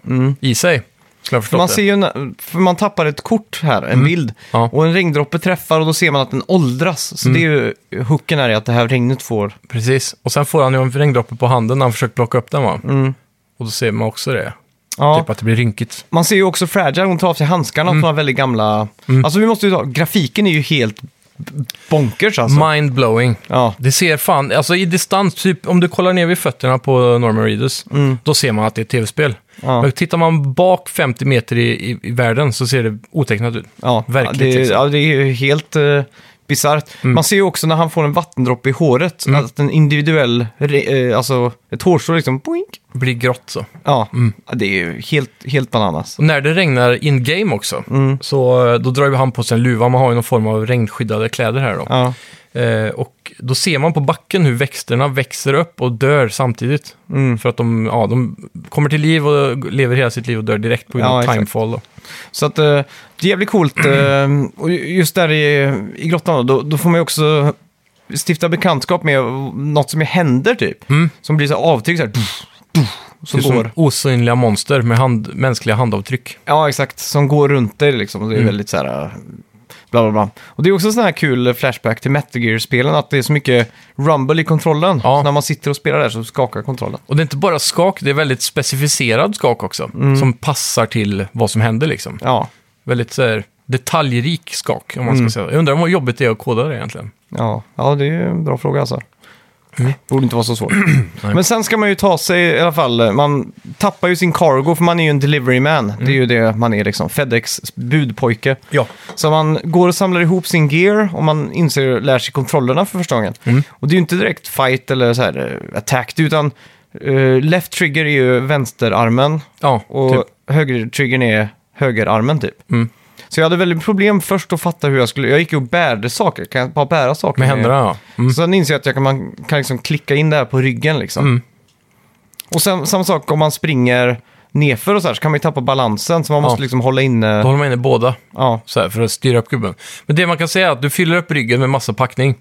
Speaker 2: i sig. Skulle jag förstått
Speaker 1: Mm. Man
Speaker 2: det.
Speaker 1: ser ju, en- för man tappar ett kort här,
Speaker 2: Mm.
Speaker 1: en bild.
Speaker 2: Ja.
Speaker 1: Och en regndroppe träffar och då ser man att den åldras. Så det är ju hooken här i att det här regnet får...
Speaker 2: Precis. Och sen får han ju en regndroppe på handen när han försöker plocka upp den va? Och då ser man också det.
Speaker 1: Mm. Ja.
Speaker 2: Typ att det blir rynkigt.
Speaker 1: Man ser ju också Fragile, hon tar av sig handskarna
Speaker 2: Mm.
Speaker 1: och tar väldigt gamla... Alltså vi måste ju ta, grafiken är ju helt b- bonkers alltså.
Speaker 2: Mind-blowing.
Speaker 1: ja.
Speaker 2: Det ser fan, alltså i distans, typ om du kollar ner vid fötterna på Norman Reedus, då ser man att det är ett tv-spel.
Speaker 1: Mm. Ja.
Speaker 2: Men tittar man bak 50 meter i, i, i världen så ser det otecknat ut.
Speaker 1: Ja,
Speaker 2: Verkligt,
Speaker 1: det, är-
Speaker 2: liksom. Mm.
Speaker 1: ja, det är ju helt uh, bisarrt. Man ser ju också när han får en vattendroppe i håret, att en individuell, re- eh, alltså ett hårstrå liksom, boink.
Speaker 2: Blir grått så.
Speaker 1: Ja,
Speaker 2: Mm.
Speaker 1: Ja, det är ju helt, helt bananas.
Speaker 2: Och när det regnar in-game också,
Speaker 1: Mm.
Speaker 2: så eh, då drar ju han på sig en luva. Man har ju någon form av regnskyddade kläder här då.
Speaker 1: Ja,
Speaker 2: Eh, och då ser man på backen hur växterna växer upp och dör samtidigt.
Speaker 1: Mm.
Speaker 2: För att de, ja, de kommer till liv och lever hela sitt liv och dör direkt på grund
Speaker 1: Ja,
Speaker 2: av
Speaker 1: exakt.
Speaker 2: timefall. Då.
Speaker 1: så att eh, det är jävligt coolt. eh, och ju- just där i, i grottan då, då, då får man ju också stifta bekantskap med något som händer typ. Som blir så här avtryck så här. Pff, pff, som
Speaker 2: Mm. Det är
Speaker 1: går.
Speaker 2: som osynliga monster med hand, mänskliga handavtryck.
Speaker 1: Ja, exakt. Som går runt dig liksom. Och
Speaker 2: Mm.
Speaker 1: det är väldigt så här... äh, Bla, bla, bla. Och det är också sån här kul flashback till Metal Gear-spelen, att det är så mycket rumble i kontrollen.
Speaker 2: Ja.
Speaker 1: Så när man sitter och spelar där så skakar kontrollen.
Speaker 2: Och det är inte bara skak, det är väldigt specificerad skak också. Som passar till vad som händer liksom.
Speaker 1: Ja,
Speaker 2: Väldigt så här, detaljrik skak, om man ska säga. Jag undrar vad jobbigt det är att koda det egentligen.
Speaker 1: ja. ja det är ju en bra fråga alltså. Borde inte vara så svårt. Men sen ska man ju ta sig i alla fall, eh, man tappar ju sin cargo för man är ju en delivery man. Det är ju det man är liksom, Fedex budpojke.
Speaker 2: Ja.
Speaker 1: Så man går och samlar ihop sin gear och man inser lär sig kontrollerna för första gången. Och det är ju inte direkt fight eller så här eh, attack, utan eh, left trigger är ju vänsterarmen
Speaker 2: Ja,
Speaker 1: och
Speaker 2: typ.
Speaker 1: höger triggern är högerarmen typ.
Speaker 2: Mm.
Speaker 1: Så jag hade väldigt problem först att fatta hur jag skulle, jag gick ju och bärde saker, kan jag bara bära saker?
Speaker 2: Med händerna ja. Mm.
Speaker 1: Sen inser jag att jag kan, man kan liksom klicka in det här på ryggen liksom.
Speaker 2: Mm.
Speaker 1: Och sen, samma sak om man springer nerför och så här så kan man ju tappa balansen så man
Speaker 2: Ja.
Speaker 1: måste liksom hålla inne.
Speaker 2: Då håller man inne båda.
Speaker 1: Ja.
Speaker 2: så här, för att styra upp gubben. Men det man kan säga är att du fyller upp ryggen med massa packning.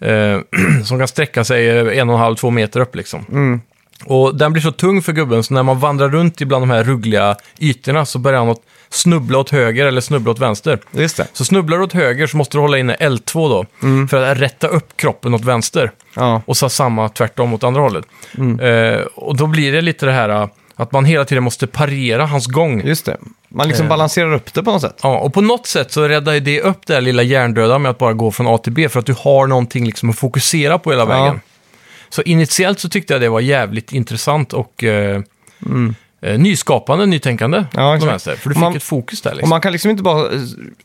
Speaker 2: Eh, som kan sträcka sig eh, en och en halv, två meter upp liksom. Och den blir så tung för gubben så när man vandrar runt ibland de här ruggliga ytorna så börjar han att snubbla åt höger eller snubbla åt vänster.
Speaker 1: Just det.
Speaker 2: Så snubblar du åt höger så måste du hålla inne L2 då.
Speaker 1: Mm.
Speaker 2: För att rätta upp kroppen åt vänster.
Speaker 1: Ja.
Speaker 2: Och så samma tvärtom åt andra hållet.
Speaker 1: Mm.
Speaker 2: Eh, och då blir det lite det här eh, att man hela tiden måste parera hans gång.
Speaker 1: Just det. Man liksom
Speaker 2: Eh.
Speaker 1: balanserar upp det på något sätt.
Speaker 2: Ja, och på något sätt så räddar ju det upp det här lilla hjärndöda med att bara gå från A till B för att du har någonting liksom att fokusera på hela vägen. Så initiellt så tyckte jag det var jävligt intressant och eh, eh, nyskapande, nytänkande. på
Speaker 1: Mm. exakt.
Speaker 2: vänster, för du
Speaker 1: Och
Speaker 2: fick
Speaker 1: man-
Speaker 2: ett fokus där
Speaker 1: Och
Speaker 2: liksom.
Speaker 1: man kan liksom inte bara eh,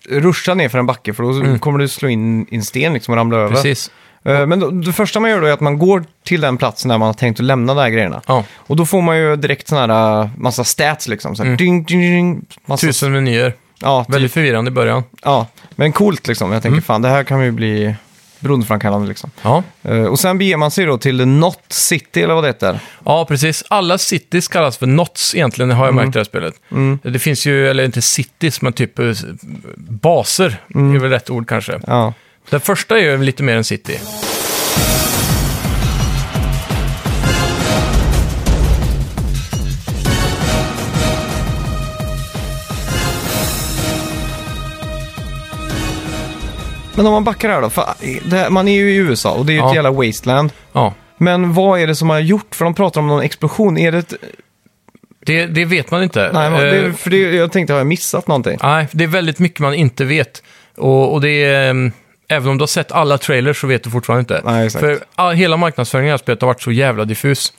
Speaker 1: ruscha ner för en backe för då kommer du slå in i en sten liksom och ramla över.
Speaker 2: Mm. Precis.
Speaker 1: Eh, Men då, det första man gör då är att man går till den platsen där man har tänkt att lämna de här grejerna.
Speaker 2: Ja,
Speaker 1: Och då får man ju direkt sån här eh, massa stats liksom. Så här,
Speaker 2: Mm.
Speaker 1: ding, ding, ding, massa,
Speaker 2: tusen menyer.
Speaker 1: Ja, typ,
Speaker 2: Väldigt förvirrande i början.
Speaker 1: ja, men coolt liksom. Jag tänker
Speaker 2: Mm.
Speaker 1: fan det här kan ju bli beroendeframkallande liksom.
Speaker 2: Ja.
Speaker 1: Eh, Och sen beger man sig då till Not City eller vad det heter.
Speaker 2: ja, precis. Alla cities kallas för Nots egentligen, har jag
Speaker 1: Mm.
Speaker 2: märkt i det här spelet. Det finns ju, eller inte cities, men typ eh, baser. Det är väl rätt ord kanske.
Speaker 1: Mm. Ja.
Speaker 2: Den första är ju lite mer än City.
Speaker 1: Men om man backar här då, för eh, det här, man är ju i USA och det är ju ett
Speaker 2: Ja.
Speaker 1: jävla wasteland.
Speaker 2: Ja.
Speaker 1: Men vad är det som har gjort? För de pratar om någon explosion. Är det ett...
Speaker 2: Det, det vet man inte.
Speaker 1: Nej, men
Speaker 2: Eh,
Speaker 1: det, för det, jag tänkte, har jag missat någonting?
Speaker 2: nej, det är väldigt mycket man inte vet. Och, och det är, ehm, även om du har sett alla trailers så vet du fortfarande inte.
Speaker 1: Nej, exakt.
Speaker 2: För all, hela marknadsföringen i det här spelet har varit så jävla diffus.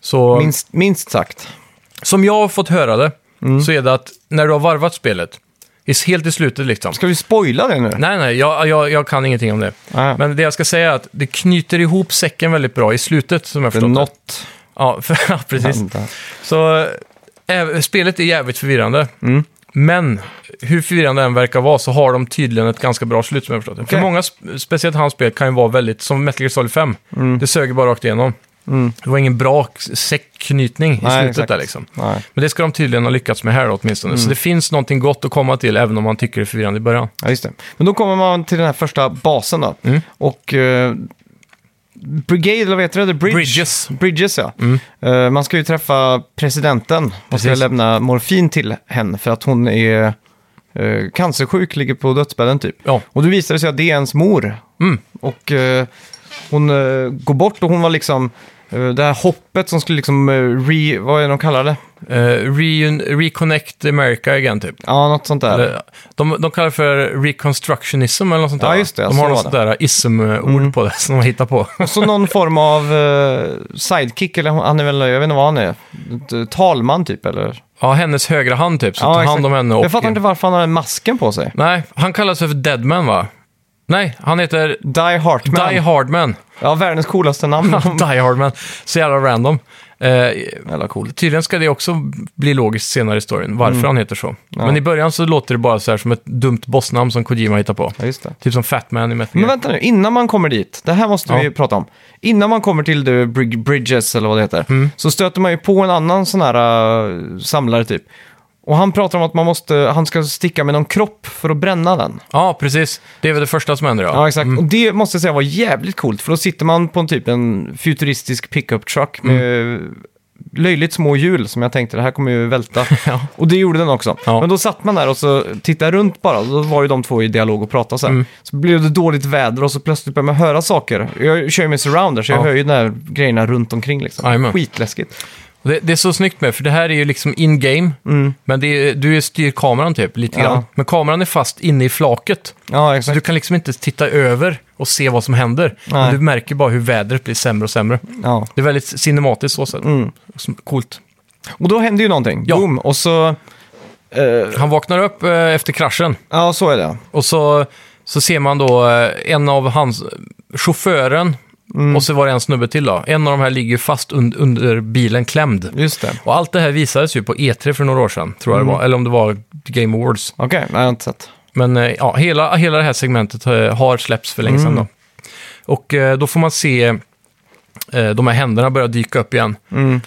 Speaker 2: Så
Speaker 1: Minst, minst sagt.
Speaker 2: som jag har fått höra det, så är det att när du har varvat spelet, i- helt i slutet liksom.
Speaker 1: Ska vi spoila det nu?
Speaker 2: Nej, nej, jag, jag, jag kan ingenting om det.
Speaker 1: Nej.
Speaker 2: Men det jag ska säga är att det knyter ihop säcken väldigt bra i slutet, som jag
Speaker 1: För
Speaker 2: förstått det.
Speaker 1: något
Speaker 2: Ja, för, ja, precis.
Speaker 1: hände. Mm.
Speaker 2: Så eh, spelet är jävligt förvirrande. Men hur firande den verkar vara så har de tydligen ett ganska bra slut som jag förstått det. För
Speaker 1: Okej.
Speaker 2: många, sp- speciellt hans spel, kan ju vara väldigt, som Metal Gear Solid 5,
Speaker 1: Mm.
Speaker 2: det söger bara rakt igenom. Det var ingen bra k- säckknytning i
Speaker 1: Nej,
Speaker 2: slutet
Speaker 1: exakt.
Speaker 2: där liksom.
Speaker 1: Nej,
Speaker 2: Men det ska de tydligen ha lyckats med här då, åtminstone.
Speaker 1: Mm.
Speaker 2: Så det finns någonting gott att komma till även om man tycker det är förvirrande i början.
Speaker 1: ja, just det. Men då kommer man till den här första basen då.
Speaker 2: Mm.
Speaker 1: Och eh, Brigade, eller vad heter det? The Bridge.
Speaker 2: Bridges.
Speaker 1: Bridges, ja. Eh, man ska ju träffa presidenten och ska
Speaker 2: Mm. Precis.
Speaker 1: lämna morfin till henne för att hon är eh, cancersjuk, ligger på dödsbädden typ.
Speaker 2: Ja,
Speaker 1: Och då visar det sig att det är ens mor.
Speaker 2: Mm.
Speaker 1: Och eh, hon eh, går bort och hon var liksom... eh, det här hoppet som skulle liksom... eh, re, vad är det de kallar det?
Speaker 2: Eh, reun- reconnect America again typ.
Speaker 1: Ja, något sånt där.
Speaker 2: Eller, de, de kallar det för reconstructionism eller något sånt
Speaker 1: Ja,
Speaker 2: där. va?
Speaker 1: just det, Mm. ja,
Speaker 2: De
Speaker 1: så
Speaker 2: har
Speaker 1: var
Speaker 2: något sånt där ism-ord på det som de hittar på.
Speaker 1: Och så Alltså någon form av eh, sidekick, eller hon- han är väl, jag vet inte vad han är. T- Talman typ, eller?
Speaker 2: Ja, hennes högra hand typ, så tar
Speaker 1: exakt.
Speaker 2: hand om henne och...
Speaker 1: Jag fattar inte varför han har den masken på sig.
Speaker 2: Nej, han kallas för Deadman va? Nej, han heter
Speaker 1: Die Hartman.
Speaker 2: Die Hardman.
Speaker 1: ja, världens coolaste namn.
Speaker 2: Die Hardman. Så jävla random. Eh,
Speaker 1: Jävla coolt. Mm.
Speaker 2: tydligen ska det också bli logiskt senare i storyn, varför han heter så. Men i början så låter det bara så här som ett dumt bossnamn som Kojima hittar på.
Speaker 1: Ja, just det.
Speaker 2: Typ som Fatman i Metal
Speaker 1: Men
Speaker 2: Gear.
Speaker 1: vänta nu, innan man kommer dit, det här måste vi
Speaker 2: Ja.
Speaker 1: prata om. Innan man kommer till The Brig- Bridges, eller vad det heter,
Speaker 2: Mm.
Speaker 1: så stöter man ju på en annan sån här äh, samlare typ. Och han pratar om att man måste, han ska sticka med någon kropp för att bränna den.
Speaker 2: Ja, precis. Det är väl det första som händer, ja. mm.
Speaker 1: Ja, exakt. Och det måste jag säga var jävligt coolt, för då sitter man på en typ en futuristisk pickup truck med
Speaker 2: Mm.
Speaker 1: löjligt små hjul som jag tänkte, det här kommer ju välta.
Speaker 2: Ja.
Speaker 1: Och det gjorde den också.
Speaker 2: Ja.
Speaker 1: Men då satt man där och så tittade runt bara, och då var ju de två i dialog och pratade så
Speaker 2: Mm.
Speaker 1: här. Så blev det dåligt väder och så plötsligt började man höra saker. Jag kör ju med surrounder, så jag
Speaker 2: Ja.
Speaker 1: hör ju de här grejerna runt omkring liksom.
Speaker 2: Jajamän.
Speaker 1: Skitläskigt.
Speaker 2: Och Det, det är så snyggt med, för det här är ju liksom in-game, men det är, du styr kameran typ, lite
Speaker 1: Mm. Ja.
Speaker 2: grann. Men kameran är fast inne i flaket,
Speaker 1: Ja,
Speaker 2: så
Speaker 1: exakt.
Speaker 2: du kan liksom inte titta över och se vad som händer.
Speaker 1: Nej.
Speaker 2: Men Du märker bara hur vädret blir sämre och sämre.
Speaker 1: Ja.
Speaker 2: Det är väldigt cinematiskt så sett.
Speaker 1: Mm.
Speaker 2: Som- Coolt.
Speaker 1: Och då hände ju någonting.
Speaker 2: Ja.
Speaker 1: Boom! Och så... eh,
Speaker 2: Han vaknar upp eh, efter kraschen
Speaker 1: ja, så är det.
Speaker 2: och så, så ser man då eh, en av hans, chauffören, och så var det en snubbe till då. En av de här ligger ju fast un- under bilen klämd.
Speaker 1: Just det.
Speaker 2: Och allt det här visades ju på E3 för några år sedan, tror jag det var. Eller om det var Game Awards.
Speaker 1: Okej, nej, jag har inte sett.
Speaker 2: Men eh, ja, hela, hela det här segmentet eh, har släppts för länge sedan. Då. Och eh, då får man se eh, de här händerna börja dyka upp igen.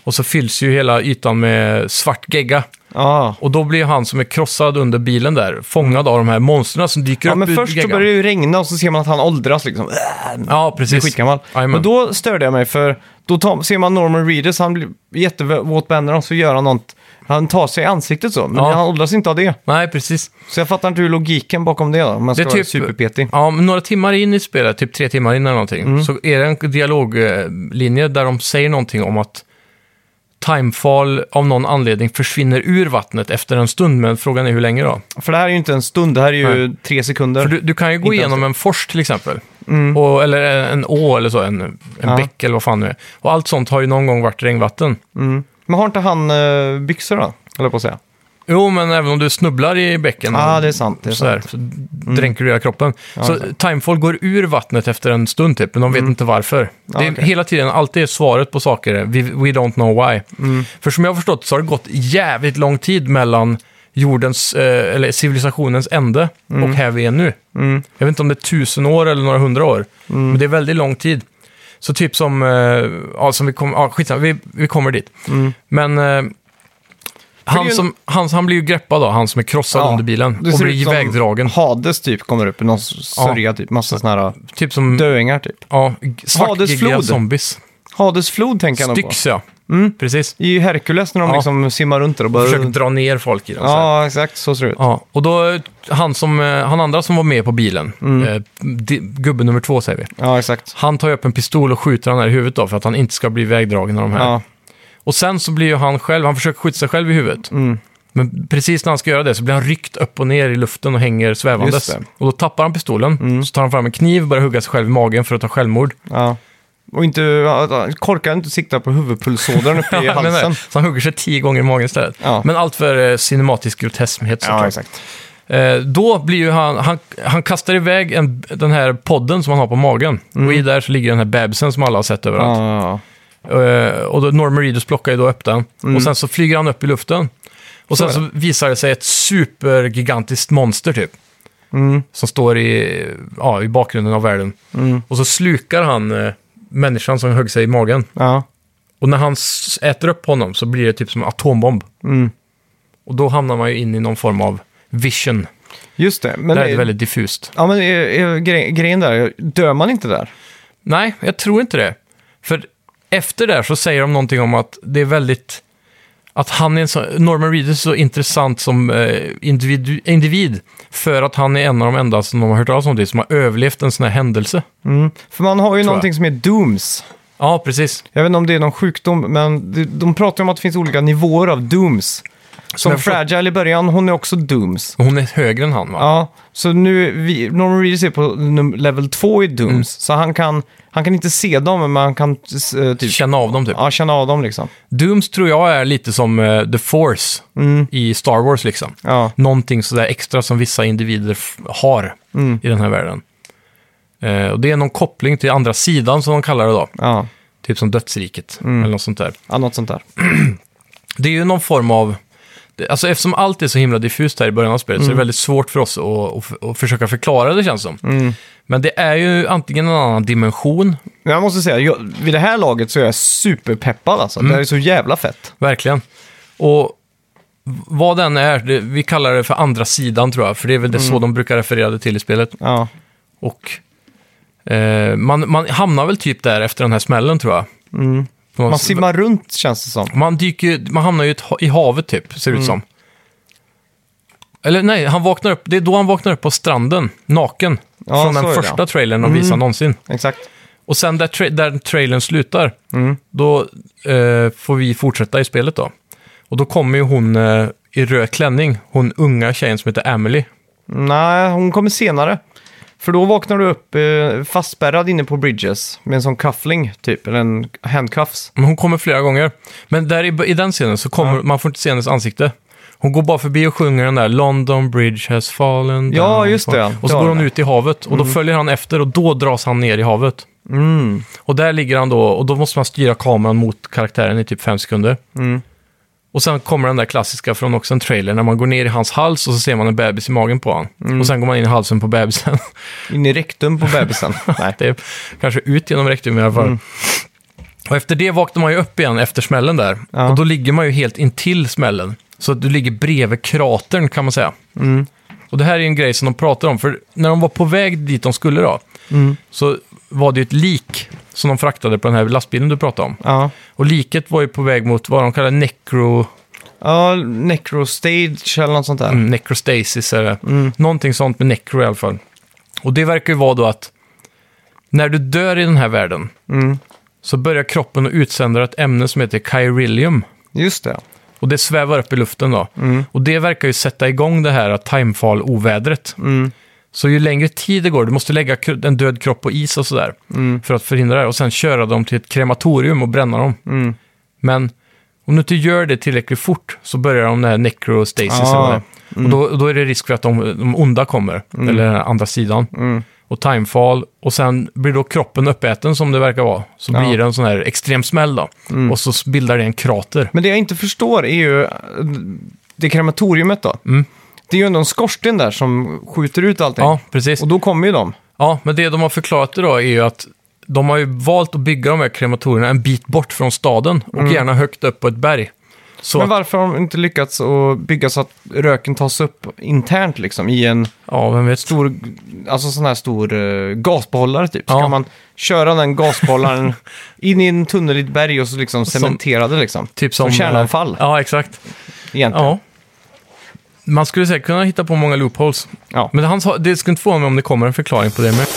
Speaker 2: Och så fylls ju hela ytan med svart gegga.
Speaker 1: Ja.
Speaker 2: Och då blir han som är krossad under bilen där fångad av de här monstren som dyker
Speaker 1: Ja,
Speaker 2: upp
Speaker 1: men
Speaker 2: ur
Speaker 1: först så
Speaker 2: geggan.
Speaker 1: börjar det ju regna och så ser man att han åldras liksom. Äh,
Speaker 2: Ja,
Speaker 1: blir
Speaker 2: precis.
Speaker 1: skitgammal.
Speaker 2: Jajamän.
Speaker 1: Men då störde jag mig för då tar, ser man Norman Reedus, han blir jättevåt på händerna och så gör han något. Han tar sig i ansiktet så, men
Speaker 2: Ja.
Speaker 1: han åldras inte av det.
Speaker 2: Nej, precis.
Speaker 1: Så jag fattar inte hur logiken bakom det då, om man ska
Speaker 2: Det är
Speaker 1: vara
Speaker 2: typ-
Speaker 1: superpetig.
Speaker 2: Ja, men några timmar in i spelet, typ tre timmar in eller någonting,
Speaker 1: Mm.
Speaker 2: så är det en dialoglinje där de säger någonting om att Timefall av någon anledning försvinner ur vattnet efter en stund, men frågan är hur länge då?
Speaker 1: För det här är ju inte en stund, det här är ju tre
Speaker 2: För
Speaker 1: sekunder.
Speaker 2: du, du kan ju gå
Speaker 1: Inte ens Mm.
Speaker 2: igenom en fors till exempel, och, eller en å eller så, en, en
Speaker 1: Ja.
Speaker 2: bäck eller vad fan det är. Och allt sånt har ju någon gång varit regnvatten.
Speaker 1: Mm. Men har inte han eh, byxor då, höll jag på att säga.
Speaker 2: Jo, men även om du snubblar i bäcken
Speaker 1: Ja, ah, det är sant. Det är
Speaker 2: så, här,
Speaker 1: sant. Mm.
Speaker 2: så dränker du hela kroppen. så Timefall går ur vattnet efter en stund typ, men de vet inte varför. det är
Speaker 1: Mm. okej.
Speaker 2: hela tiden, alltid är svaret på saker we, we don't know why.
Speaker 1: Mm.
Speaker 2: För som jag har förstått så har det gått jävligt lång tid mellan jordens, eh, eller civilisationens ände
Speaker 1: Mm.
Speaker 2: och här vi är nu. Jag vet inte om det är tusen år eller några hundra år,
Speaker 1: Mm.
Speaker 2: men det är väldigt lång tid. Så typ som, eh, ja, som vi kommer, ja, skitsamma, vi, vi kommer dit. Men eh,
Speaker 1: Mm. det är
Speaker 2: han,
Speaker 1: ju-
Speaker 2: som, han, han blir ju greppad då, han som är krossad
Speaker 1: Ja,
Speaker 2: under bilen
Speaker 1: det
Speaker 2: och
Speaker 1: ser ut
Speaker 2: blir
Speaker 1: som
Speaker 2: ivägdragen.
Speaker 1: Hades typ kommer upp, någon sörja typ, massa sådana här
Speaker 2: Typ som
Speaker 1: döingar typ.
Speaker 2: ja, g- svartgiggiga
Speaker 1: Hadesflod.
Speaker 2: zombies.
Speaker 1: Hades flod tänker jag nog på.
Speaker 2: Styx, ja.
Speaker 1: Mm.
Speaker 2: Precis.
Speaker 1: I Herkules när de
Speaker 2: Ja.
Speaker 1: liksom simmar runt där och bara...
Speaker 2: Försöker dra ner folk i den. så här.
Speaker 1: Ja, exakt. Så ser det ut.
Speaker 2: Ja, och då, eh, han, som, eh, han andra som var med på bilen,
Speaker 1: Mm.
Speaker 2: eh, di- gubbe nummer två säger vi,
Speaker 1: Ja, exakt.
Speaker 2: han tar ju upp en pistol och skjuter han här i huvudet då för att han inte ska bli vägdragen av de här.
Speaker 1: Ja,
Speaker 2: Och sen så blir ju han själv, han försöker skjuta sig själv i huvudet.
Speaker 1: Mm.
Speaker 2: Men precis när han ska göra det så blir han ryckt upp och ner i luften och hänger svävandes.
Speaker 1: Just det. Mm.
Speaker 2: Och då tappar han pistolen, så tar han fram en kniv och börjar hugga sig själv i magen för att ta självmord.
Speaker 1: ja. Och inte, korkar inte sikta på huvudpulsådern uppe i
Speaker 2: Ja, jag menar
Speaker 1: halsen.
Speaker 2: det. så han hugger sig tio gånger i magen istället.
Speaker 1: Ja.
Speaker 2: Men allt för eh, cinematisk groteskhet såklart.
Speaker 1: Ja, exakt.
Speaker 2: Eh, då blir ju han, han, han kastar iväg en, den här podden som han har på magen.
Speaker 1: Mm.
Speaker 2: Och i där så ligger den här bebisen som alla har sett överallt.
Speaker 1: Ja, ja, ja.
Speaker 2: Eh, och då Norman Reedus plockar ju då upp den. Och sen så flyger han upp i luften. Och sen
Speaker 1: Så är
Speaker 2: så visar det sig ett supergigantiskt monster typ.
Speaker 1: Mm,
Speaker 2: Som står i, ja, i bakgrunden av världen. Och så slukar han eh, människan som högg sig i magen.
Speaker 1: Ja.
Speaker 2: Och när han s- äter upp honom så blir det typ som en atombomb.
Speaker 1: mm.
Speaker 2: Och då hamnar man ju in i någon form av vision.
Speaker 1: Just det. Men,
Speaker 2: Där är det väldigt diffust.
Speaker 1: ja, men är, är, gre- grejen där, dör man inte där?
Speaker 2: Nej, jag tror inte det. För efter det här så säger de någonting om att det är väldigt... Att han är en så, Norman Reedus är så intressant som eh, individu, individ. För att han är en av de enda som de har hört talas om det, som har överlevt en sån här händelse.
Speaker 1: För man har ju någonting
Speaker 2: jag.
Speaker 1: som är dooms.
Speaker 2: Ja, precis.
Speaker 1: Jag vet inte om det är någon sjukdom, men de, de pratar ju om att det finns olika nivåer av dooms. Som
Speaker 2: jag förstår-
Speaker 1: Fragile i början, hon är också dooms.
Speaker 2: Hon är högre än han, va?
Speaker 1: Ja, så nu, är vi, Norman Reedus är på num- level 2 i Dooms, så han kan, han kan inte se dem, men han kan eh, typ,
Speaker 2: Känna av dem, typ.
Speaker 1: ja, känna av dem liksom.
Speaker 2: Dooms tror jag är lite som eh, The Force i Star Wars, liksom.
Speaker 1: Mm. Ja,
Speaker 2: någonting sådär extra som vissa individer f- har i den här världen. Eh, och det är någon koppling till andra sidan som de kallar det då.
Speaker 1: ja,
Speaker 2: Typ som dödsriket eller något sånt där.
Speaker 1: ja något sånt där.
Speaker 2: Det är ju någon form av... det- Alltså eftersom allt är så himla diffust här i början av spelet så är det väldigt svårt för oss att, att, f- att försöka förklara det känns som. Men det är ju antingen en annan dimension,
Speaker 1: Men jag måste säga, jag, vid det här laget så är jag superpeppad alltså. Det här är så jävla fett.
Speaker 2: verkligen. Och v- vad den är, det, vi kallar det för andra sidan tror jag, för det är väl det så de brukar referera det till i spelet.
Speaker 1: Ja,
Speaker 2: Och eh, man, man hamnar väl typ där efter den här smällen tror jag. På någon-
Speaker 1: Mm. man simmar runt känns det som.
Speaker 2: man, dyker, ju- man hamnar ju i ett ha- i havet typ, ser det
Speaker 1: Mm.
Speaker 2: ut som. Eller nej, han vaknar upp, det är då han vaknar upp på stranden, naken.
Speaker 1: Ja,
Speaker 2: från
Speaker 1: så är
Speaker 2: den
Speaker 1: det,
Speaker 2: första
Speaker 1: ja. Mm.
Speaker 2: trailern de visar någonsin.
Speaker 1: Exakt.
Speaker 2: Och sen där, tra- där trailern slutar,
Speaker 1: Mm.
Speaker 2: då eh, får vi fortsätta i spelet då. Och då kommer ju hon eh, i röd klänning, hon unga tjejen som heter Emily.
Speaker 1: Nej, hon kommer senare. För då vaknar du upp eh, fastspärrad inne på Bridges med en sån cuffling typ, eller en handcuffs.
Speaker 2: Men hon kommer flera gånger. Men där i, i den scenen så kommer, man får inte se hennes ansikte. Hon går bara förbi och sjunger den där London Bridge has fallen
Speaker 1: Ja,
Speaker 2: down",
Speaker 1: just det.
Speaker 2: Och
Speaker 1: Det Mm.
Speaker 2: så
Speaker 1: var
Speaker 2: går hon
Speaker 1: den.
Speaker 2: ut i havet och då följer han efter och då dras han ner i havet.
Speaker 1: Mm.
Speaker 2: Och där ligger han då och då måste man styra kameran mot karaktären i typ fem sekunder.
Speaker 1: Mm.
Speaker 2: Och sen kommer den där klassiska från också en trailer när man går ner i hans hals och så ser man en bebis i magen på honom.
Speaker 1: Mm.
Speaker 2: Och sen går man in i halsen på bebisen.
Speaker 1: In i rektum på bebisen. Nej.
Speaker 2: Det är kanske ut genom rektum i alla fall. Och efter det vaknar man ju upp igen efter smällen där.
Speaker 1: Ja.
Speaker 2: Och då ligger man ju helt intill smällen. Så att du ligger bredvid kratern kan man säga. Och det här är en grej som de pratar om. För när de var på väg dit de skulle då, så var det ju ett lik som de fraktade på den här lastbilen du pratade om.
Speaker 1: Ja.
Speaker 2: Och liket var ju på väg mot vad de kallar necro,
Speaker 1: Ja, necrostage eller något sånt Mm. där.
Speaker 2: mm, necrostasis. Eller Någonting sånt med necro i alla fall. Och det verkar ju vara då att när du dör i den här världen,
Speaker 1: Mm.
Speaker 2: så börjar kroppen att utsända ett ämne som heter kyrillium.
Speaker 1: Just det.
Speaker 2: Och det svävar upp i luften då.
Speaker 1: Mm.
Speaker 2: Och det verkar ju sätta igång det här timefall-ovädret.
Speaker 1: Mm.
Speaker 2: Så ju längre tid det går, du måste lägga kro- en död kropp på is och sådär. För att förhindra det. Och sen köra dem till ett krematorium och bränna dem.
Speaker 1: Mm.
Speaker 2: Men om du inte gör det tillräckligt fort så börjar de den här necrostasis.
Speaker 1: Ah,
Speaker 2: eller vad det är. Och då, då är det risk för att de, de onda kommer.
Speaker 1: Mm.
Speaker 2: Eller den här andra sidan. Och timefall. Och sen blir då kroppen uppäten som det verkar vara. Så
Speaker 1: Ja. Mm.
Speaker 2: blir det en sån här extrem smäll då. Och så bildar det en krater.
Speaker 1: Men det jag inte förstår är ju eh, det krematoriumet då. Det är ju ändå en skorsten där som skjuter ut allting.
Speaker 2: Mm. Ja, precis.
Speaker 1: Och då kommer ju de.
Speaker 2: Ja, men det de har förklarat idag är ju att de har ju valt att bygga de här krematorierna en bit bort från staden och gärna högt upp på ett berg. Så
Speaker 1: Mm. Men
Speaker 2: att,
Speaker 1: varför har de inte lyckats att bygga så att röken tas upp internt liksom i en
Speaker 2: ja, vem vet.
Speaker 1: stor, alltså sån här stor eh, gasbehållare typ. Så
Speaker 2: Ja.
Speaker 1: kan man köra den gasbehållaren in i en tunnel i ett berg och så liksom cementera det liksom.
Speaker 2: Typ som,
Speaker 1: kärnavfall
Speaker 2: Ja, exakt.
Speaker 1: egentligen.
Speaker 2: Ja. Man skulle säkert kunna hitta på många loopholes.
Speaker 1: Ja.
Speaker 2: Men han sa, det skulle inte förvåna mig om det kommer en förklaring på det med.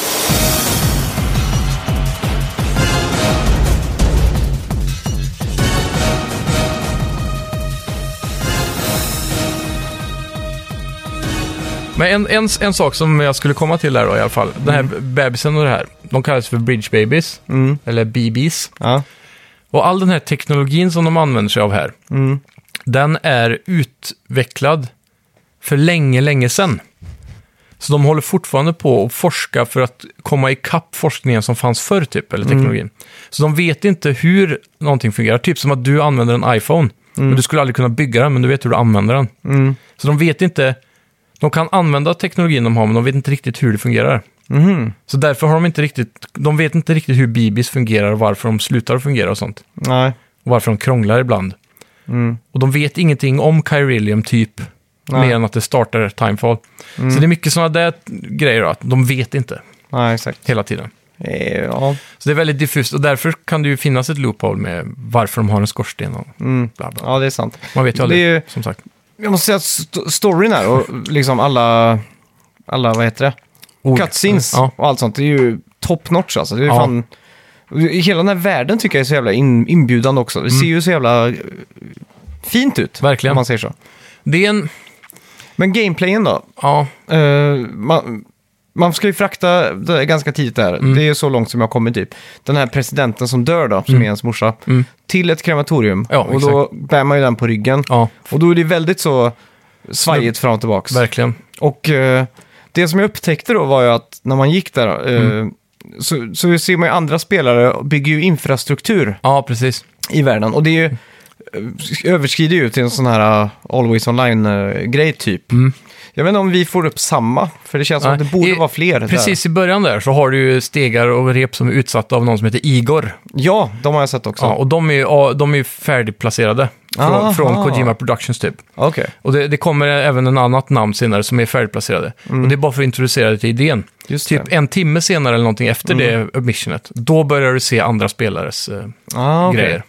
Speaker 2: Men en, en, en sak som jag skulle komma till där då i alla fall. Den här bebisen och det här. De kallas för bridge babies. Eller BBs.
Speaker 1: Ja.
Speaker 2: Och all den här teknologin som de använder sig av här,
Speaker 1: Mm.
Speaker 2: den är utvecklad för länge, länge sedan. Så de håller fortfarande på att forska för att komma ikapp forskningen som fanns förr, typ, eller teknologin. Så de vet inte hur någonting fungerar. Typ som att du använder en iPhone. Men du skulle aldrig kunna bygga den, men du vet hur du använder den. Så de vet inte... De kan använda teknologin de har, men de vet inte riktigt hur det fungerar. Så därför har de inte riktigt... De vet inte riktigt hur Bibis fungerar och varför de slutar att fungera och sånt.
Speaker 1: Nej.
Speaker 2: Och varför de krånglar ibland.
Speaker 1: Mm.
Speaker 2: Och de vet ingenting om Kyrillium typ,
Speaker 1: Nej. Mm.
Speaker 2: mer än att det startar Timefall. Så det är mycket sådana där grejer, då, att de vet inte
Speaker 1: Nej, exakt.
Speaker 2: hela tiden.
Speaker 1: Eh, Ja.
Speaker 2: Så det är väldigt diffust och därför kan det ju finnas ett loophole med varför de har en skorsten och
Speaker 1: Mm.
Speaker 2: bla bla.
Speaker 1: ja, det är sant.
Speaker 2: Man vet ju
Speaker 1: Det
Speaker 2: aldrig,
Speaker 1: är ju-
Speaker 2: som sagt.
Speaker 1: Jag måste säga att st- storyn här och liksom alla, alla vad heter det?
Speaker 2: Ord.
Speaker 1: Cutscenes
Speaker 2: Ja.
Speaker 1: och allt sånt. Det är ju top notch alltså. Det är
Speaker 2: Ja.
Speaker 1: fan... Hela den här världen tycker jag är så jävla in, inbjudande också. Det ser ju så jävla eh, fint ut.
Speaker 2: Mm. Verkligen.
Speaker 1: Om man säger så.
Speaker 2: Det är en,
Speaker 1: Men gameplayen då?
Speaker 2: ja,
Speaker 1: Eh, man, man ska ju frakta det ganska tidigt där.
Speaker 2: Mm.
Speaker 1: Det är så långt som jag har kommit typ. Den här presidenten som dör då, som är ens morsa,
Speaker 2: Mm.
Speaker 1: till ett krematorium.
Speaker 2: Ja,
Speaker 1: och då bär man ju den på ryggen.
Speaker 2: ja,
Speaker 1: Och då är det väldigt så svajigt fram och tillbaks.
Speaker 2: verkligen.
Speaker 1: Och eh, det som jag upptäckte då var ju att när man gick där, eh,
Speaker 2: Mm.
Speaker 1: så, så ser man ju andra spelare bygger ju infrastruktur
Speaker 2: Ja, precis.
Speaker 1: i världen. Och det är ju, eh, överskrider ju till en sån här eh, Always Online-grej typ. Jag vet inte om vi får upp samma, för det känns som
Speaker 2: Mm. Nej,
Speaker 1: att det borde
Speaker 2: i-
Speaker 1: vara fler. där.
Speaker 2: Precis i början där så har du ju stegar och rep som är utsatta av någon som heter Igor.
Speaker 1: Ja, de har jag sett också.
Speaker 2: Ja, och de är ju ja, de är ju färdigplacerade
Speaker 1: Aha.
Speaker 2: från, från Kojima Productions typ.
Speaker 1: Ah, Okej.
Speaker 2: Och det, det kommer även en annat namn senare som är färdigplacerade. Och det är bara för att introducera dig till idén.
Speaker 1: Mm. Just Mm.
Speaker 2: Typ en timme senare eller någonting efter det missionet, då börjar du se andra spelares eh,
Speaker 1: ah, okej.
Speaker 2: grejer.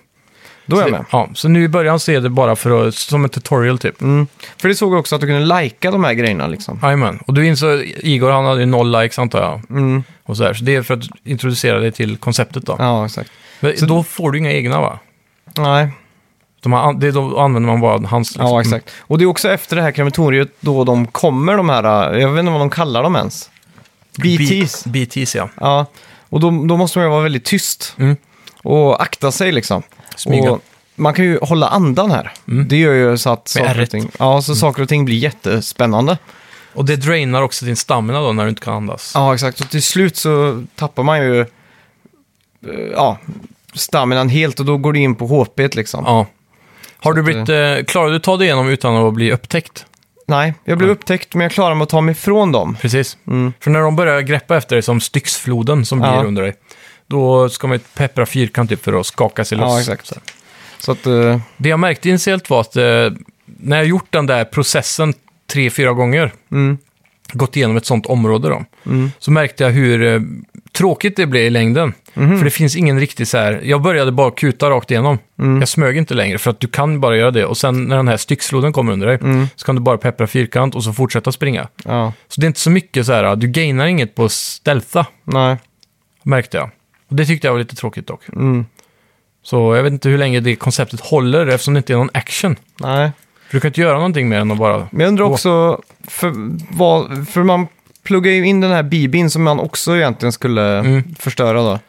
Speaker 1: Då är jag
Speaker 2: Så,
Speaker 1: med.
Speaker 2: det- ja, så nu i början så är det bara för att, som en tutorial typ.
Speaker 1: Mm. För det såg jag också att du kunde lajka de här grejerna liksom.
Speaker 2: Jajamän. Och du insåg, Igor han hade ju noll likes antar jag.
Speaker 1: Mm.
Speaker 2: Och så, här. så det är för att introducera dig till konceptet då.
Speaker 1: Ja, exakt.
Speaker 2: Men då får du inga egna va?
Speaker 1: Nej,
Speaker 2: De har, an- det, då använder man bara hans. liksom.
Speaker 1: Ja, exakt. Och det är också efter det här krematoriet då de kommer, de här, äh, jag vet inte vad de kallar dem ens. BTs.
Speaker 2: B- BTs ja.
Speaker 1: Ja, och då, då måste man ju vara väldigt tyst
Speaker 2: Mm.
Speaker 1: och akta sig liksom.
Speaker 2: Smyga. Mm.
Speaker 1: Och man kan ju hålla andan här. Det gör ju så att saker
Speaker 2: R1.
Speaker 1: och, ting, ja,
Speaker 2: Mm.
Speaker 1: så saker och ting blir jättespännande.
Speaker 2: Och det drainar också din stamina då när du inte kan andas.
Speaker 1: Ja, exakt. Och till slut så tappar man ju eh, ja, staminan helt och då går det in på HP liksom.
Speaker 2: Ja. Har du
Speaker 1: att,
Speaker 2: blivit, eh, klarade du ta dig igenom utan att bli upptäckt?
Speaker 1: Nej, jag blev upptäckt men jag klarade mig att ta mig ifrån dem.
Speaker 2: Precis.
Speaker 1: Mm.
Speaker 2: För när de börjar greppa efter dig som Styxfloden som blir
Speaker 1: Ja.
Speaker 2: under dig, då ska man ju peppra fyrkant typ för att skaka sig
Speaker 1: Ja,
Speaker 2: loss.
Speaker 1: exakt.
Speaker 2: Så.
Speaker 1: Så att, eh,
Speaker 2: Det jag märkte initiellt var att eh, när jag gjort den där processen tre, fyra gånger,
Speaker 1: mm,
Speaker 2: gått igenom ett sånt område då,
Speaker 1: Mm.
Speaker 2: så märkte jag hur eh, tråkigt det blev i längden.
Speaker 1: Mhm.
Speaker 2: För det finns ingen riktig så här, jag började bara kuta rakt igenom.
Speaker 1: Mm.
Speaker 2: Jag smög inte längre för att du kan bara göra det. Och sen när den här styxloden kommer under dig
Speaker 1: Mm.
Speaker 2: så kan du bara peppra fyrkant och så fortsätta springa.
Speaker 1: ja,
Speaker 2: Så det är inte så mycket så här, du gainar inget på att stealtha,
Speaker 1: nej.
Speaker 2: märkte jag. Och det tyckte jag var lite tråkigt dock.
Speaker 1: Mm.
Speaker 2: Så jag vet inte hur länge det konceptet håller eftersom det inte är någon action.
Speaker 1: Nej.
Speaker 2: För du kan inte göra någonting mer än att bara...
Speaker 1: Men jag undrar
Speaker 2: Wow.
Speaker 1: också, för, vad, för man pluggar ju in den här bibin som man också egentligen skulle
Speaker 2: Mm.
Speaker 1: förstöra då.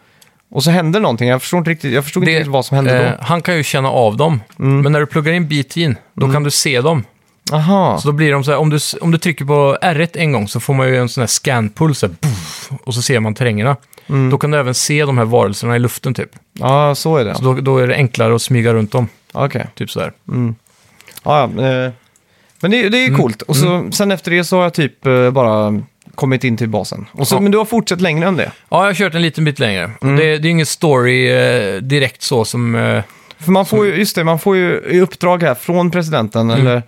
Speaker 1: Och så händer någonting, jag förstod inte riktigt, jag förstod
Speaker 2: Det-
Speaker 1: inte riktigt vad Mm. som hände
Speaker 2: Eh, han kan ju känna av dem, men när du pluggar in BT'n, då
Speaker 1: Mm.
Speaker 2: kan du se dem.
Speaker 1: då. Aha,
Speaker 2: Så då blir de så här, om du, om du trycker på R1 en gång så får man ju en sån här scanpull, så här, puff, och så ser man terrängerna.
Speaker 1: Mm.
Speaker 2: Då kan du även se de här varelserna i luften typ.
Speaker 1: ja så är det.
Speaker 2: Så då, då är det enklare att smyga runt dem,
Speaker 1: Okej.
Speaker 2: typ så där.
Speaker 1: Ja, ja, eh, men det, det är
Speaker 2: Mm.
Speaker 1: coolt. Och så, sen efter det så har jag typ eh, bara kommit in till basen. Och så,
Speaker 2: Ja.
Speaker 1: Men du har fortsatt längre än det.
Speaker 2: Ja, jag har kört en liten bit längre.
Speaker 1: Mm.
Speaker 2: Och Det, det är ingen story eh, direkt så som... Eh,
Speaker 1: För man får ju, just det, man får ju i uppdrag här från presidenten, eller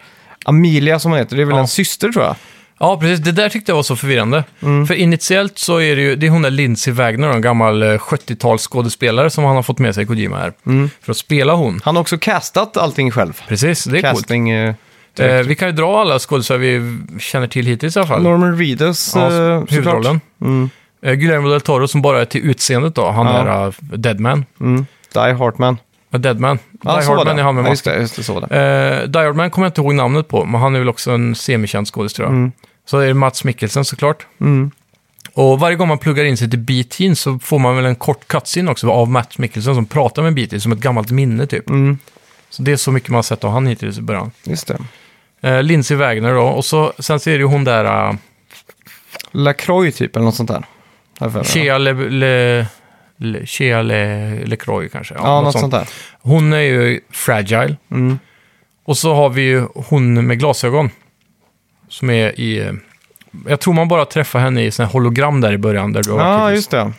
Speaker 1: Amelia som hon heter, det är väl
Speaker 2: Mm. Ja.
Speaker 1: en syster tror jag.
Speaker 2: ja, precis. Det där tyckte jag var så förvirrande.
Speaker 1: Mm.
Speaker 2: För initiellt så är det ju, det är hon där Lindsay Wagner, en gammal eh, 70-talsskådespelare som han har fått med sig i Kojima här.
Speaker 1: Mm.
Speaker 2: För att spela hon.
Speaker 1: Han har också castat allting själv.
Speaker 2: Precis, det är coolt.
Speaker 1: Casting... eh,
Speaker 2: Eh, vi kan ju dra alla skådespelare vi känner till hittills i alla fall.
Speaker 1: Norman Reedus
Speaker 2: Ja,
Speaker 1: eh, såklart.
Speaker 2: huvudrollen.
Speaker 1: Mm.
Speaker 2: Eh, Guillermo del Toro som bara är till utseendet då, han
Speaker 1: Ja.
Speaker 2: är uh, Deadman.
Speaker 1: Mm. Die Hartman.
Speaker 2: Uh, Deadman.
Speaker 1: Ja,
Speaker 2: Die
Speaker 1: så var
Speaker 2: Hardman
Speaker 1: det.
Speaker 2: är han med
Speaker 1: ja, just
Speaker 2: masken.
Speaker 1: det, just det, så var det.
Speaker 2: Eh, Die Hardman kommer jag inte ihåg namnet på, men han är väl också en semikänd skådis tror jag. Så är det Mats Mikkelsen såklart.
Speaker 1: Mm.
Speaker 2: Och varje gång man pluggar in sig till B-Teen så får man väl en kort cutscene också av Mats Mikkelsen som pratar med B-Teen som ett gammalt minne typ.
Speaker 1: Mm.
Speaker 2: Så det är så mycket man har sett av han hittills i början.
Speaker 1: Just det.
Speaker 2: Eh, Lindsay Wagner då, och så, sen ser ju hon där, eh,
Speaker 1: Lacroix typ, eller något sånt där. Här för mig, va?
Speaker 2: Shea Le... Le Le, Shea Le, Le Croix kanske.
Speaker 1: Ja, något sånt där.
Speaker 2: Hon är ju fragile.
Speaker 1: Mm.
Speaker 2: Och så har vi ju hon med glasögon. Som är i... eh, Jag tror man bara träffar henne i sån här hologram där i början. Där du har
Speaker 1: Ja,
Speaker 2: varit i-
Speaker 1: just det.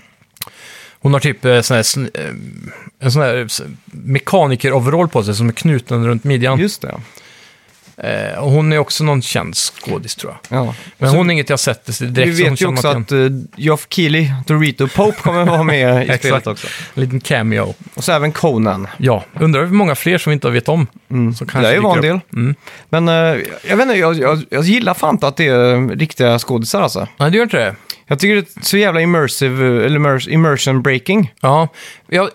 Speaker 2: Hon har typ eh, sån här, sn- eh, en sån här s- mekaniker-overall på sig som är knuten runt midjan.
Speaker 1: Just det.
Speaker 2: Eh, och hon är också någon känd skådis tror jag.
Speaker 1: Ja.
Speaker 2: Men hon är inget jag sett direkt.
Speaker 1: Alltså, Vi
Speaker 2: så
Speaker 1: vet
Speaker 2: hon
Speaker 1: ju
Speaker 2: känner
Speaker 1: också
Speaker 2: man
Speaker 1: att uh, Geoff Keighley, Dorito Pope kommer vara med i
Speaker 2: Exakt.
Speaker 1: spelet också.
Speaker 2: En liten cameo.
Speaker 1: Och så även Conan.
Speaker 2: Ja, undrar hur många fler som vi inte vet om. Som
Speaker 1: Det är ju
Speaker 2: dyker
Speaker 1: var en
Speaker 2: upp.
Speaker 1: del.
Speaker 2: Mm.
Speaker 1: Men eh, jag vet inte, jag, jag, jag gillar fan inte att det är eh, riktiga skådisar alltså.
Speaker 2: Nej, det gör inte det.
Speaker 1: Jag tycker det är så jävla immersive, eh, eller immers- immersion breaking.
Speaker 2: Ja, jag,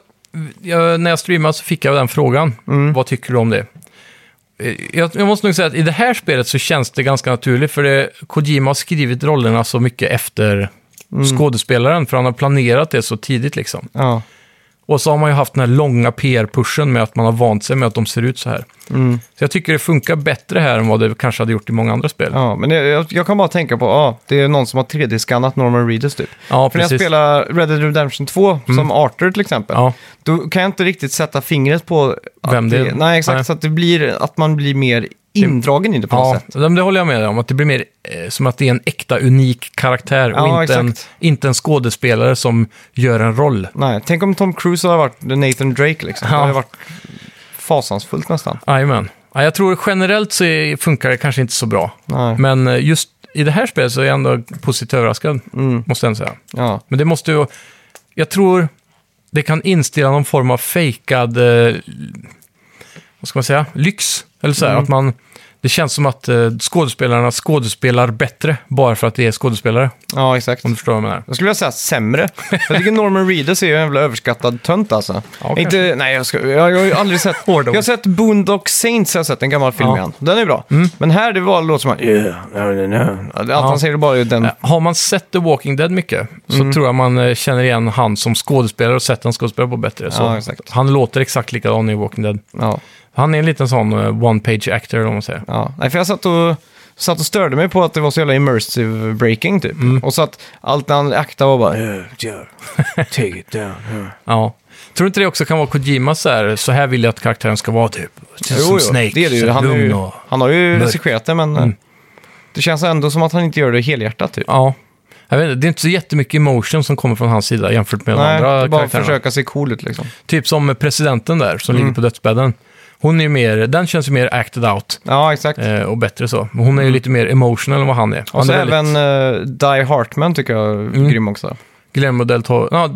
Speaker 2: jag, när jag streamade så fick jag den frågan.
Speaker 1: Mm.
Speaker 2: Vad tycker du om det? Eh, Jag, jag måste nog säga att i det här spelet så känns det ganska naturligt. För det, Kojima har skrivit rollerna så mycket efter
Speaker 1: Mm.
Speaker 2: skådespelaren. För han har planerat det så tidigt liksom.
Speaker 1: Ja.
Speaker 2: Och så har man ju haft den här långa PR-pushen med att man har vant sig med att de ser ut så här.
Speaker 1: Mm.
Speaker 2: Så jag tycker det funkar bättre här än vad det kanske hade gjort i många andra spel.
Speaker 1: Ja, men jag- jag, jag kan bara tänka på, ja, det är någon som har 3D-skannat Norman Reedus typ.
Speaker 2: Ja,
Speaker 1: För när jag
Speaker 2: precis. Mm.
Speaker 1: spelar Red Dead Redemption 2, som Arthur till exempel,
Speaker 2: Ja.
Speaker 1: då kan jag inte riktigt sätta fingret på... att
Speaker 2: Vem det är.
Speaker 1: Nej, exakt.
Speaker 2: Nej.
Speaker 1: Så att, det blir, att man blir mer indragen i det på något
Speaker 2: Ja,
Speaker 1: sätt.
Speaker 2: det, det håller jag med dig om. Att det blir mer eh, som att det är en äkta, unik karaktär och
Speaker 1: Ja,
Speaker 2: inte, en,
Speaker 1: exakt.
Speaker 2: inte en skådespelare som gör en roll.
Speaker 1: Nej, tänk om Tom Cruise hade varit Nathan Drake liksom. Det
Speaker 2: Ja.
Speaker 1: hade varit fasansfullt nästan.
Speaker 2: Jajamän. Ja, jag tror generellt så är- funkar det kanske inte så bra.
Speaker 1: Nej.
Speaker 2: Men eh, just i det här spelet så är jag ändå positivt överraskad,
Speaker 1: Mm.
Speaker 2: måste jag ändå säga.
Speaker 1: Ja.
Speaker 2: Men det måste ju... Jag tror det kan inställa någon form av fejkad... Eh, vad ska man säga? Lyx. Eller
Speaker 1: Mm.
Speaker 2: så här, att man... Det känns som att eh, skådespelarna skådespelar bättre bara för att det är skådespelare.
Speaker 1: ja, exakt.
Speaker 2: Om du förstår vad jag menar.
Speaker 1: Jag skulle vilja säga sämre. Jag tycker Norman Reedus är ju en jävla överskattad tönt alltså.
Speaker 2: Ja,
Speaker 1: inte, nej, jag, ska, jag, jag har ju aldrig sett...
Speaker 2: Hård
Speaker 1: jag har sett Boondock Saints, jag har sett en gammal film
Speaker 2: Ja. Mm.
Speaker 1: igen. Den är bra. Men här det var låt som man... Yeah, no, no, no. Allt han säger är bara är den...
Speaker 2: Eh, Har man sett The Walking Dead mycket så
Speaker 1: Mm.
Speaker 2: tror jag man eh, känner igen han som skådespelare och sett han skådespelare på bättre. Så
Speaker 1: Ja, exakt.
Speaker 2: Han låter exakt likadan i Walking Dead.
Speaker 1: Ja,
Speaker 2: Han är en liten sån eh, one-page actor om man säger.
Speaker 1: ja. Nej, för jag satt och, satt och störde mig på att det var så jävla immersive breaking typ.
Speaker 2: Mm.
Speaker 1: Och så att allt när han aktade var bara... Yeah, yeah. Take it down. yeah.
Speaker 2: Ja. Tror du inte det också kan vara Kojima så här, så här vill jag att karaktären ska vara typ? Känns som Snake,
Speaker 1: det är det
Speaker 2: så
Speaker 1: ju. Han, är
Speaker 2: lugn
Speaker 1: ju,
Speaker 2: och...
Speaker 1: han har ju
Speaker 2: mörk. Mm.
Speaker 1: regisserat det, men... eh, Det känns ändå som att han inte gör det helhjärtat typ.
Speaker 2: Ja. Jag vet inte, det är inte så jättemycket emotion som kommer från hans sida jämfört med
Speaker 1: Nej,
Speaker 2: de andra
Speaker 1: bara
Speaker 2: karaktärerna.
Speaker 1: försöka se cool ut liksom.
Speaker 2: Typ som presidenten där, som
Speaker 1: Mm.
Speaker 2: ligger på dödsbädden. Hon är ju mer, den känns ju mer acted out
Speaker 1: Ja, exakt.
Speaker 2: eh, och bättre så. Men hon är ju lite mer emotional än vad han är. Han
Speaker 1: Mm. Och så
Speaker 2: är väldigt- Mm.
Speaker 1: även eh, Die Hartman tycker jag är grym också.
Speaker 2: Guillermo del Toro. Ja,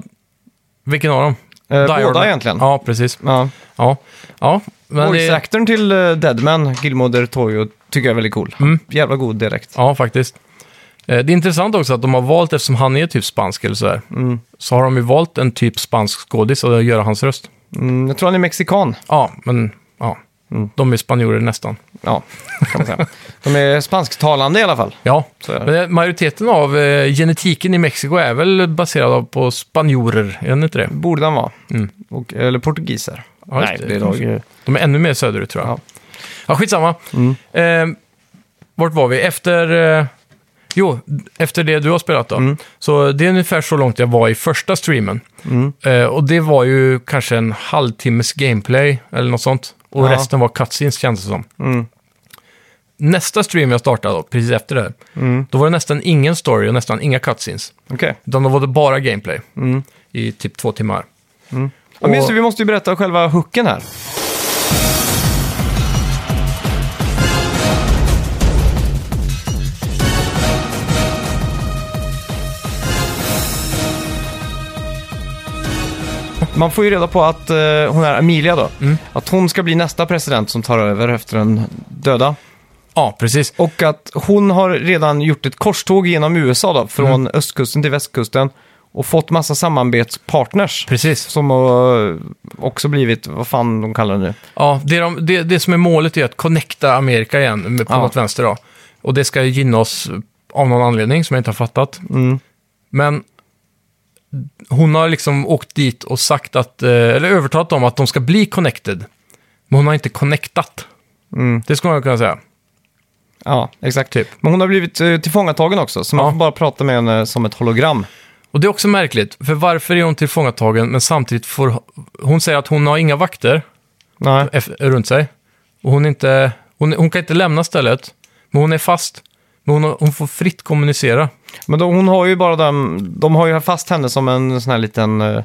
Speaker 2: vilken av dem?
Speaker 1: Eh,
Speaker 2: Die
Speaker 1: båda
Speaker 2: Hard.
Speaker 1: egentligen.
Speaker 2: Ja, precis.
Speaker 1: Ja.
Speaker 2: Ja, ja men det,
Speaker 1: Voice-actorn till eh, Deadman, Gilmo del Toyo, tycker jag är väldigt cool.
Speaker 2: Mm.
Speaker 1: Jävla god direkt.
Speaker 2: ja, faktiskt. Eh, Det är intressant också att de har valt, eftersom han är typ spansk eller sådär,
Speaker 1: Mm.
Speaker 2: så har de ju valt en typ spansk skådis att göra hans röst.
Speaker 1: Mm, jag tror han är mexikan.
Speaker 2: Ja, men ja,
Speaker 1: Mm.
Speaker 2: de är spanjorer nästan.
Speaker 1: Ja, kan man säga. De är spansktalande i alla fall.
Speaker 2: Ja,
Speaker 1: Så är det.
Speaker 2: men eh, majoriteten av eh, genetiken i Mexiko är väl baserad av- på spanjorer, är den inte det?
Speaker 1: Borde han vara. Och, eller portugiser.
Speaker 2: Mm. Ja, just
Speaker 1: Nej,
Speaker 2: det. Mm.
Speaker 1: det är nog...
Speaker 2: De är ännu mer söderut tror jag.
Speaker 1: Ja. Mm.
Speaker 2: Ja, skitsamma. Eh, vart var vi? Efter, eh, jo, efter det du har spelat då.
Speaker 1: Mm.
Speaker 2: Så det är ungefär så långt jag var i första streamen.
Speaker 1: Mm.
Speaker 2: Eh, och det var ju kanske en halvtimmes gameplay eller något sånt. Och
Speaker 1: Ja. Mm.
Speaker 2: resten var cutscenes kändes det som. Nästa stream jag startade då, precis efter det här,
Speaker 1: Mm.
Speaker 2: då var det nästan ingen story och nästan inga cutscenes.
Speaker 1: Okej.
Speaker 2: Utan då var det bara gameplay
Speaker 1: Mm.
Speaker 2: i typ två timmar.
Speaker 1: Ja, men just det,
Speaker 2: Och-
Speaker 1: vi måste ju berätta själva hooken här. Man får ju reda på att eh, hon är Amelia då. Att hon ska bli nästa president som tar över efter den döda.
Speaker 2: Ja, precis.
Speaker 1: Och att hon har redan gjort ett korståg genom USA då, från östkusten till västkusten. Och fått massa samarbetspartners.
Speaker 2: Precis.
Speaker 1: Som har eh, också blivit, vad fan de kallar det nu.
Speaker 2: Ja, det, de, det, det som är målet är att connecta Amerika igen med- på
Speaker 1: Ja.
Speaker 2: något vänster. Då. Och det ska gynna oss av någon anledning som jag inte har fattat. Men hon har liksom åkt dit och sagt att, eh, eller övertalat dem att de ska bli connected. Men hon har inte connectat. Det skulle man kunna säga.
Speaker 1: Ja, exakt.
Speaker 2: Typ.
Speaker 1: Men hon har blivit eh, tillfångatagen också, så man
Speaker 2: Ja.
Speaker 1: får bara prata med henne som ett hologram.
Speaker 2: Och det är också märkligt, för varför är hon tillfångatagen men samtidigt får... Hon säger att hon har inga vakter
Speaker 1: Nej.
Speaker 2: eff- runt sig. Och hon, är inte, hon, hon kan inte lämna stället, men hon är fast. Men hon, har- hon får fritt kommunicera.
Speaker 1: Men de, hon har ju bara den, de har ju fast henne som en sån här liten eh,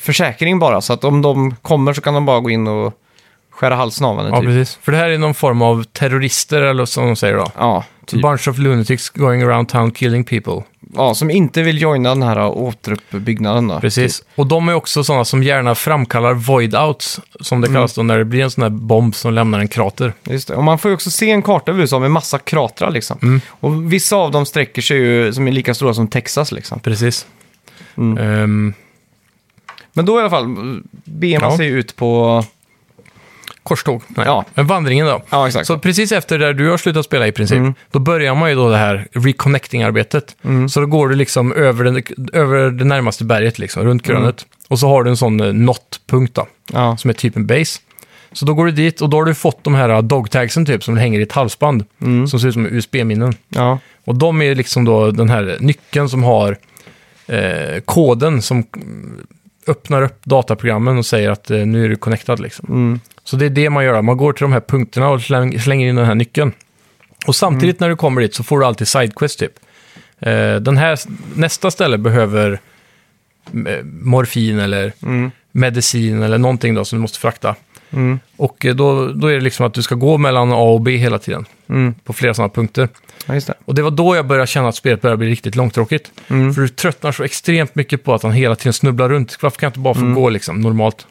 Speaker 1: försäkring bara. Så att om de kommer så kan de bara gå in och skära halsen av henne.
Speaker 2: Ja,
Speaker 1: typ.
Speaker 2: precis. För det här är någon form av terrorister, eller som de säger då.
Speaker 1: Ja, typ.
Speaker 2: Bunch of lunatics going around town killing people.
Speaker 1: ja, som inte vill joina den här eh, återuppbyggnaden. Då,
Speaker 2: Precis.
Speaker 1: Typ.
Speaker 2: Och de är också sådana som gärna framkallar void-outs, som
Speaker 1: Mm.
Speaker 2: det kallas då, när det blir en sån här bomb som lämnar en krater.
Speaker 1: Just det. Och man får ju också se en karta över USA med massa kratrar liksom.
Speaker 2: Mm.
Speaker 1: Och vissa av dem sträcker sig ju som är lika stora som Texas liksom.
Speaker 2: Precis.
Speaker 1: Mm.
Speaker 2: Ehm,
Speaker 1: Men då i alla fall beger man
Speaker 2: Ja.
Speaker 1: sig ut på...
Speaker 2: korståg. Nej.
Speaker 1: Ja.
Speaker 2: Men vandringen då.
Speaker 1: Ja, exakt.
Speaker 2: Så precis efter där du har slutat spela i princip, då börjar man ju då det här reconnecting-arbetet. Så då går du liksom över, den, över det närmaste berget, liksom, runt krönet. Och så har du en sån eh, not-punkt då,
Speaker 1: Ja.
Speaker 2: som är typ en base. Så då går du dit och då har du fått de här dogtagsen typ, som hänger i ett halsband, som ser ut som USB-minnen.
Speaker 1: Ja.
Speaker 2: Och de är liksom då den här nyckeln som har eh, koden som mm, öppnar upp dataprogrammen och säger att eh, nu är du connectad. Liksom.
Speaker 1: Mm.
Speaker 2: Så det är det man gör. Man går till de här punkterna och släng, slänger in den här nyckeln. Och samtidigt
Speaker 1: Mm.
Speaker 2: när du kommer dit så får du alltid sidequest typ. Eh, den här, nästa ställe behöver eh, morfin eller medicin eller någonting då som du måste frakta.
Speaker 1: Mm.
Speaker 2: Och eh, då, då är det liksom att du ska gå mellan A och B hela tiden
Speaker 1: Mm.
Speaker 2: på flera sådana punkter.
Speaker 1: ja, just det.
Speaker 2: Och det var då jag började känna att spelet började bli riktigt långtråkigt. För du tröttnar så extremt mycket på att han hela tiden snubblar runt. Varför kan jag inte bara få gå liksom, normalt?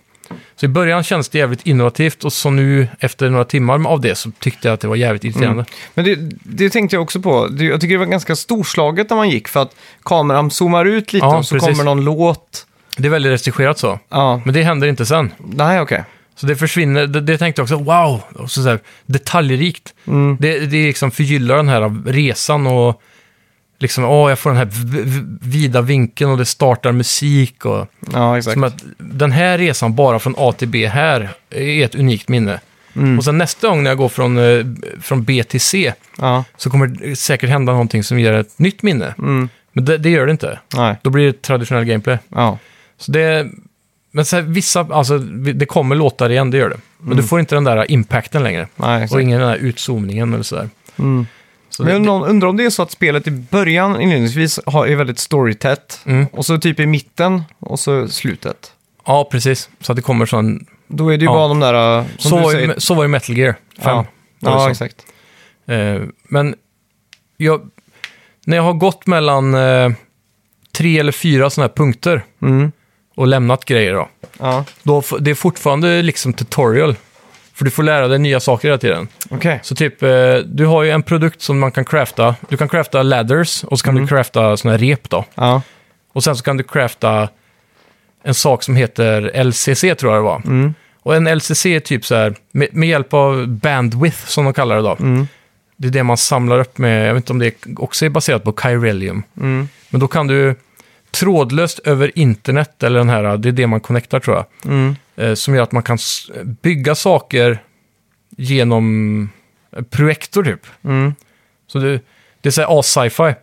Speaker 2: Så i början kändes det jävligt innovativt och så nu efter några timmar av det så tyckte jag att det var jävligt irriterande.
Speaker 1: Men det, det tänkte jag också på. Det, jag tycker det var ganska storslaget när man gick för att kameran zoomar ut lite
Speaker 2: Ja,
Speaker 1: och så
Speaker 2: precis.
Speaker 1: kommer någon låt.
Speaker 2: Det är väldigt restringerat så.
Speaker 1: Ja,
Speaker 2: Men det händer inte sen.
Speaker 1: nej okej.
Speaker 2: Så det försvinner, det, det tänkte jag också, wow, och så så här, detaljrikt. Det, det liksom förgyllar den här resan och liksom, åh, jag får den här v- v- vida vinkeln och det startar musik och...
Speaker 1: Ja, exakt.
Speaker 2: Som att den här resan bara från A till B här är ett unikt minne.
Speaker 1: Mm.
Speaker 2: Och sen nästa gång när jag går från, eh, från B till C
Speaker 1: Ja,
Speaker 2: så kommer det säkert hända någonting som ger ett nytt minne.
Speaker 1: Mm.
Speaker 2: Men det, det gör det inte.
Speaker 1: nej.
Speaker 2: Då blir det traditionell gameplay.
Speaker 1: Ja.
Speaker 2: Så det, men så här, vissa, alltså, vi- det kommer låtar igen, det gör det. Men du får inte den där impacten längre.
Speaker 1: Nej,
Speaker 2: Och
Speaker 1: Mm. exakt. Mm.
Speaker 2: ingen den där utzoomningen eller sådär. Så
Speaker 1: Men jag
Speaker 2: det, det,
Speaker 1: undrar, undrar om det är så att spelet i början inledningsvis har, är väldigt storytätt.
Speaker 2: Mm.
Speaker 1: Och så typ i mitten och så slutet.
Speaker 2: ja, precis. Så att det kommer sån...
Speaker 1: Då är det ju
Speaker 2: Ja.
Speaker 1: bara de där, äh, som
Speaker 2: Så
Speaker 1: du
Speaker 2: var,
Speaker 1: säger.
Speaker 2: ju, så var ju Metal Gear 5.
Speaker 1: ja, ja exakt.
Speaker 2: Eh, men jag, när jag har gått mellan eh, tre eller fyra sådana här punkter
Speaker 1: Mm.
Speaker 2: och lämnat grejer då,
Speaker 1: Ja,
Speaker 2: då f- det är fortfarande liksom tutorial. För du får lära dig nya saker hela tiden.
Speaker 1: okej.
Speaker 2: Så typ, eh, du har ju en produkt som man kan crafta. Du kan crafta ladders och så kan du crafta sådana här rep då.
Speaker 1: Ja,
Speaker 2: Och sen så kan du crafta en sak som heter LCC tror jag det var. Och en LCC är typ så här, med, med hjälp av bandwidth som de kallar det då. Det är det man samlar upp med, jag vet inte om det också är baserat på Kyrelium.
Speaker 1: Mm.
Speaker 2: Men då kan du trådlöst över internet, eller den här, det är det man connectar tror jag.
Speaker 1: Mm,
Speaker 2: Eh, som gör att man kan s- bygga saker genom eh, projektor typ.
Speaker 1: mm,
Speaker 2: Så du, det är så här as-sci-fi.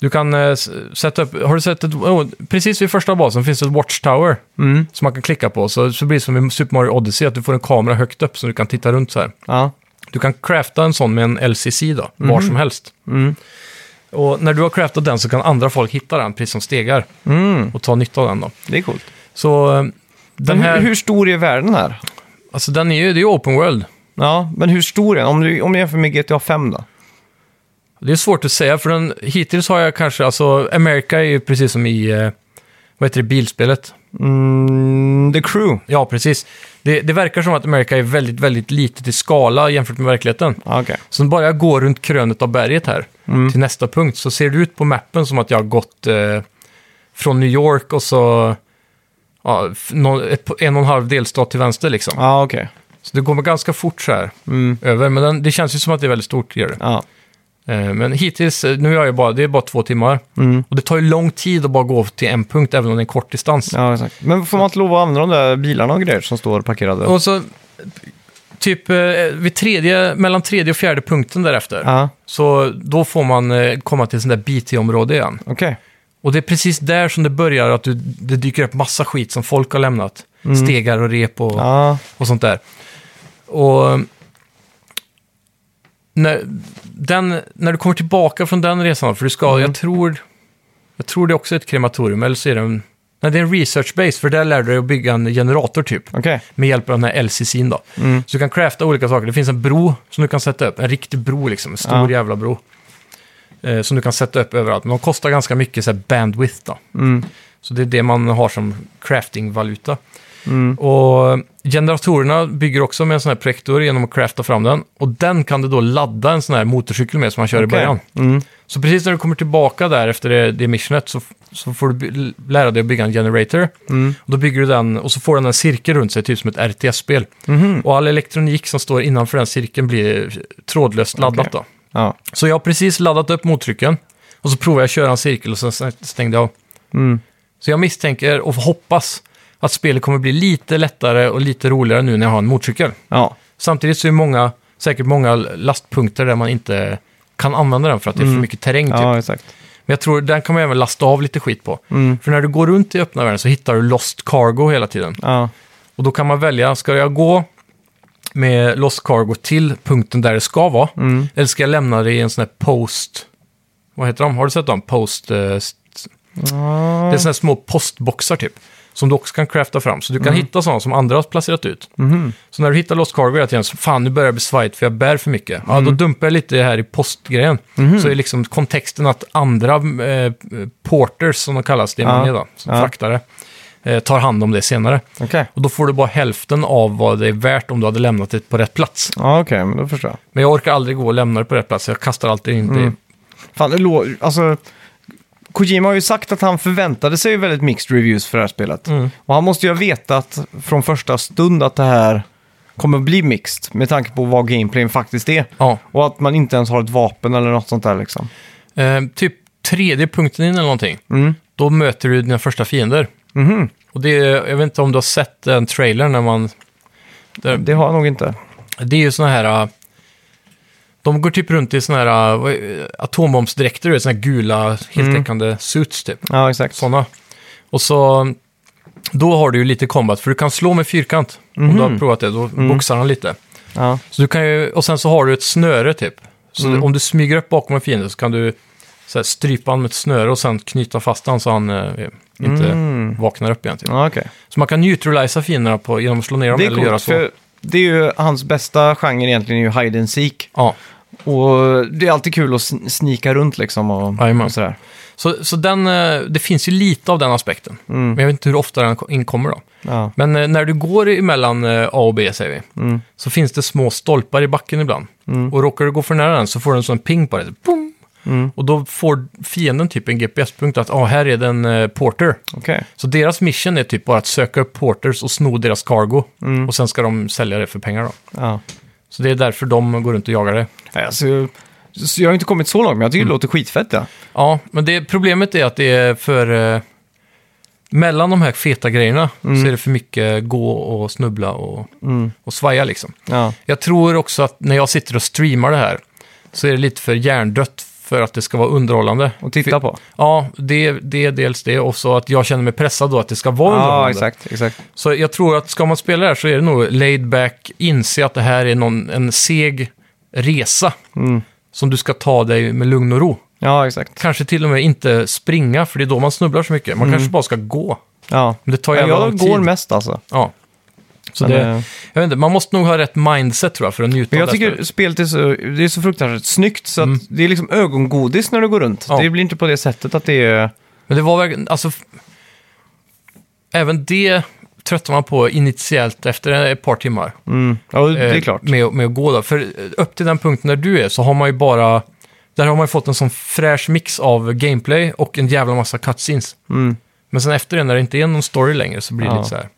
Speaker 2: Du kan eh, s- sätta upp, har du sett ett, oh, precis vid första basen finns det ett Watchtower
Speaker 1: mm,
Speaker 2: som man kan klicka på. Så, så blir det som i Super Mario Odyssey, att du får en kamera högt upp så du kan titta runt så här.
Speaker 1: ja.
Speaker 2: Du kan crafta en sån med en LCC då, var
Speaker 1: Mhm.
Speaker 2: som helst.
Speaker 1: Mm.
Speaker 2: Och när du har craftat den så kan andra folk hitta den, precis som stegar,
Speaker 1: Mm,
Speaker 2: och ta nytta av den då.
Speaker 1: det är coolt.
Speaker 2: Så eh, den
Speaker 1: Men hur,
Speaker 2: här,
Speaker 1: hur stor är världen här?
Speaker 2: alltså den är ju, det är ju open world.
Speaker 1: Ja, men hur stor är den? Om du, om du jämför med GTA 5 då?
Speaker 2: Det är svårt att säga, för den, hittills har jag kanske, alltså America är ju precis som i, eh, vad heter det, bilspelet.
Speaker 1: Mm, The Crew.
Speaker 2: Ja, precis. Det, det verkar som att Amerika är väldigt, väldigt litet i skala jämfört med verkligheten.
Speaker 1: Ja, okej.
Speaker 2: Så bara jag går runt krönet av berget här
Speaker 1: Mm.
Speaker 2: till nästa punkt så ser det ut på mappen som att jag har gått eh, från New York och så ja, f- nå- ett, en och en halv delstat till vänster liksom.
Speaker 1: Ja, okej.
Speaker 2: Så det går ganska fort så här
Speaker 1: Mm.
Speaker 2: över. Men den, det känns ju som att det är väldigt stort, gör det.
Speaker 1: Ja.
Speaker 2: Eh, Men hittills, eh, nu är jag ju bara, det är bara två timmar.
Speaker 1: Mm.
Speaker 2: Och det tar ju lång tid att bara gå till en punkt, även om det är en kort distans.
Speaker 1: Ja, exakt. Men får man inte lov att använda de där bilarna och grejer som står parkerade?
Speaker 2: Och så, typ eh, vid tredje, mellan tredje och fjärde punkten därefter,
Speaker 1: Ja,
Speaker 2: så då får man eh, komma till sånt där BT-område igen.
Speaker 1: okej.
Speaker 2: Och det är precis där som det börjar, att du, det dyker upp massa skit som folk har lämnat. Stegar och rep och,
Speaker 1: Ja,
Speaker 2: och sånt där. Och när, den, när du kommer tillbaka från den resan, för du ska, jag tror, jag tror det är också ett krematorium, eller så är det en, nej, det är en research base, för där lär du dig att bygga en generator typ.
Speaker 1: Okej. Mm,
Speaker 2: Med hjälp av den här LCC'n då. Så du kan crafta olika saker. Det finns en bro som du kan sätta upp, en riktig bro liksom, en stor
Speaker 1: Ja.
Speaker 2: jävla bro. Eh, som du kan sätta upp överallt, men de kostar ganska mycket så här, bandwidth då.
Speaker 1: Mm.
Speaker 2: Så det är det man har som crafting-valuta.
Speaker 1: Mm.
Speaker 2: Och generatorerna bygger också med en sån här projektor genom att crafta fram den. Och den kan du då ladda en sån här motorcykel med som man kör i
Speaker 1: Okej.
Speaker 2: början.
Speaker 1: Mm.
Speaker 2: Så precis när du kommer tillbaka där efter det, det missionet så, så får du by- lära dig att bygga en generator.
Speaker 1: Mm.
Speaker 2: Och då bygger du den och så får den en cirkel runt sig, typ som ett RTS-spel.
Speaker 1: Mhm.
Speaker 2: Och all elektronik som står innanför den cirkeln blir trådlöst laddat
Speaker 1: Okej.
Speaker 2: då.
Speaker 1: Ja.
Speaker 2: Så jag har precis laddat upp mottrycken och så provade jag att köra en cirkel och sen stäng- stängde jag av.
Speaker 1: Mm.
Speaker 2: Så jag misstänker och hoppas att spelet kommer bli lite lättare och lite roligare nu när jag har en motorcykel.
Speaker 1: Ja.
Speaker 2: Samtidigt så är det många, säkert många lastpunkter där man inte kan använda den för att det är för
Speaker 1: Mm.
Speaker 2: mycket terräng. Typ.
Speaker 1: ja, exakt.
Speaker 2: Men jag tror den kan man även lasta av lite skit på.
Speaker 1: Mm.
Speaker 2: För när du går runt i öppna världen så hittar du lost cargo hela tiden.
Speaker 1: Ja.
Speaker 2: Och då kan man välja, ska jag gå med lost cargo till punkten där det ska vara?
Speaker 1: Mm.
Speaker 2: Eller ska jag lämna det i en sån här post... Vad heter de? Har du sett dem? Post... eh, st-
Speaker 1: Ja.
Speaker 2: Det är såna här små postboxar typ. Som du också kan crafta fram. Så du kan
Speaker 1: Mm.
Speaker 2: hitta sådana som andra har placerat ut.
Speaker 1: Mhm.
Speaker 2: Så när du hittar Lost Cargo hela tiden, så fan nu börjar jag bli svajt för jag bär för mycket. Ja,
Speaker 1: Mm.
Speaker 2: då dumpar jag lite här i postgrejen.
Speaker 1: Mm-hmm.
Speaker 2: Så är liksom kontexten att andra eh, porters, som de kallas, det är
Speaker 1: Ja.
Speaker 2: man är då, som
Speaker 1: Ja.
Speaker 2: fraktare, eh, tar hand om det senare.
Speaker 1: Okej.
Speaker 2: Och då får du bara hälften av vad det är värt om du hade lämnat det på rätt plats.
Speaker 1: Ja, okej, men då förstår jag.
Speaker 2: Men jag orkar aldrig gå och lämna det på rätt plats, jag kastar alltid in det.
Speaker 1: Mm. Fan, det lå- alltså, Kojima har ju sagt att han förväntade sig väldigt mixed reviews för det här spelet.
Speaker 2: Mm.
Speaker 1: Och han måste ju ha vetat från första stund att det här kommer bli mixed med tanke på vad gameplayen faktiskt är.
Speaker 2: Ja.
Speaker 1: Och att man inte ens har ett vapen eller något sånt där liksom.
Speaker 2: Eh, typ tredje punkten in eller någonting,
Speaker 1: Mm.
Speaker 2: då möter du dina första fiender.
Speaker 1: Mhm.
Speaker 2: Och det är, jag vet inte om du har sett den trailern när man... Där,
Speaker 1: Det har jag nog inte.
Speaker 2: det är ju såna här... äh, De går typ runt i såna här äh, vad är- atombombsdräkter, du vet, såna här gula heltäckande
Speaker 1: Mm.
Speaker 2: suits typ.
Speaker 1: Ja, exakt.
Speaker 2: Såna. Och så... Då har du ju lite combat, för du kan slå med fyrkant. Om du
Speaker 1: Mm-hmm.
Speaker 2: har provat det, då
Speaker 1: Mm.
Speaker 2: boxar han lite.
Speaker 1: Ja.
Speaker 2: Så du kan ju, och sen så har du ett snöre typ. Så
Speaker 1: Mm.
Speaker 2: om du smyger upp bakom en fiende så kan du så här, strypa han med ett snöre och sen knyta fast han så han eh, inte vaknar upp igen. Typ.
Speaker 1: Mm. Ja, okej.
Speaker 2: Så man kan neutralisa fienderna på, genom att slå ner dem
Speaker 1: Det
Speaker 2: eller
Speaker 1: är
Speaker 2: göra
Speaker 1: coolt,
Speaker 2: så.
Speaker 1: för det är ju hans bästa genre egentligen, är ju hide and seek.
Speaker 2: Ja.
Speaker 1: Och det är alltid kul att sn- snika runt liksom och,
Speaker 2: Jajamän.
Speaker 1: och sådär.
Speaker 2: Så, så den, eh, det finns ju lite av den aspekten.
Speaker 1: Mm.
Speaker 2: Men jag vet inte hur ofta den ko- inkommer då.
Speaker 1: Ja.
Speaker 2: Men eh, när du går emellan eh, A och B, säger vi, så finns det små stolpar i backen ibland. Och råkar du gå för nära den så får du en sån ping på dig. så Boom! Och då får fienden typ en GPS-punkt att ah, här är det en eh, porter.
Speaker 1: Okej.
Speaker 2: Så deras mission är typ bara att söka upp porters och sno deras cargo. Och sen ska de sälja det för pengar då.
Speaker 1: Ja.
Speaker 2: Så det är därför de går runt och jagar det.
Speaker 1: Nej, Alltså, så jag har inte kommit så långt, men jag tycker
Speaker 2: Mm.
Speaker 1: det låter skitfett. Ja.
Speaker 2: Ja, men det, problemet är att det är för... Eh, mellan de här feta grejerna så är det för mycket gå och snubbla och, och svaja liksom.
Speaker 1: Ja.
Speaker 2: Jag tror också att när jag sitter och streamar det här så är det lite för hjärndött för att det ska vara underhållande.
Speaker 1: Och titta på.
Speaker 2: Ja, det, det är dels det och så att jag känner mig pressad då att det ska vara
Speaker 1: Ja,
Speaker 2: underhållande.
Speaker 1: exakt. exakt.
Speaker 2: Så jag tror att ska man spela det här så är det nog laid back, inse att det här är någon, en seg resa
Speaker 1: Mm.
Speaker 2: som du ska ta dig med lugn och ro.
Speaker 1: Ja, exakt.
Speaker 2: Kanske till och med inte springa, för det är då man snubblar så mycket. Man kanske bara ska gå.
Speaker 1: Mm. Ja.
Speaker 2: Men det tar
Speaker 1: Men
Speaker 2: jävla lång
Speaker 1: jag
Speaker 2: tid.
Speaker 1: går mest alltså.
Speaker 2: Ja. Så
Speaker 1: Men,
Speaker 2: det,
Speaker 1: eh,
Speaker 2: jag vet inte, man måste nog ha rätt mindset tror jag för att njuta
Speaker 1: Men
Speaker 2: av
Speaker 1: jag
Speaker 2: det här
Speaker 1: tycker
Speaker 2: spelet.
Speaker 1: spelet är så, det är så fruktansvärt snyggt så att det är liksom ögongodis när du går runt.
Speaker 2: Mm. Ja.
Speaker 1: Det blir inte på det sättet att det är...
Speaker 2: Men det var verkligen, alltså... f- Även det tröttar man på initiellt efter ett par timmar.
Speaker 1: Mm. Ja, det är
Speaker 2: eh,
Speaker 1: klart.
Speaker 2: Med, med att gå där. För eh, upp till den punkten där du är så har man ju bara... Där har man ju fått en sån fräsch mix av gameplay och en jävla massa cutscenes.
Speaker 1: Mm.
Speaker 2: Men sen efter det, när det inte är någon story längre, så blir det
Speaker 1: Ja.
Speaker 2: lite så här...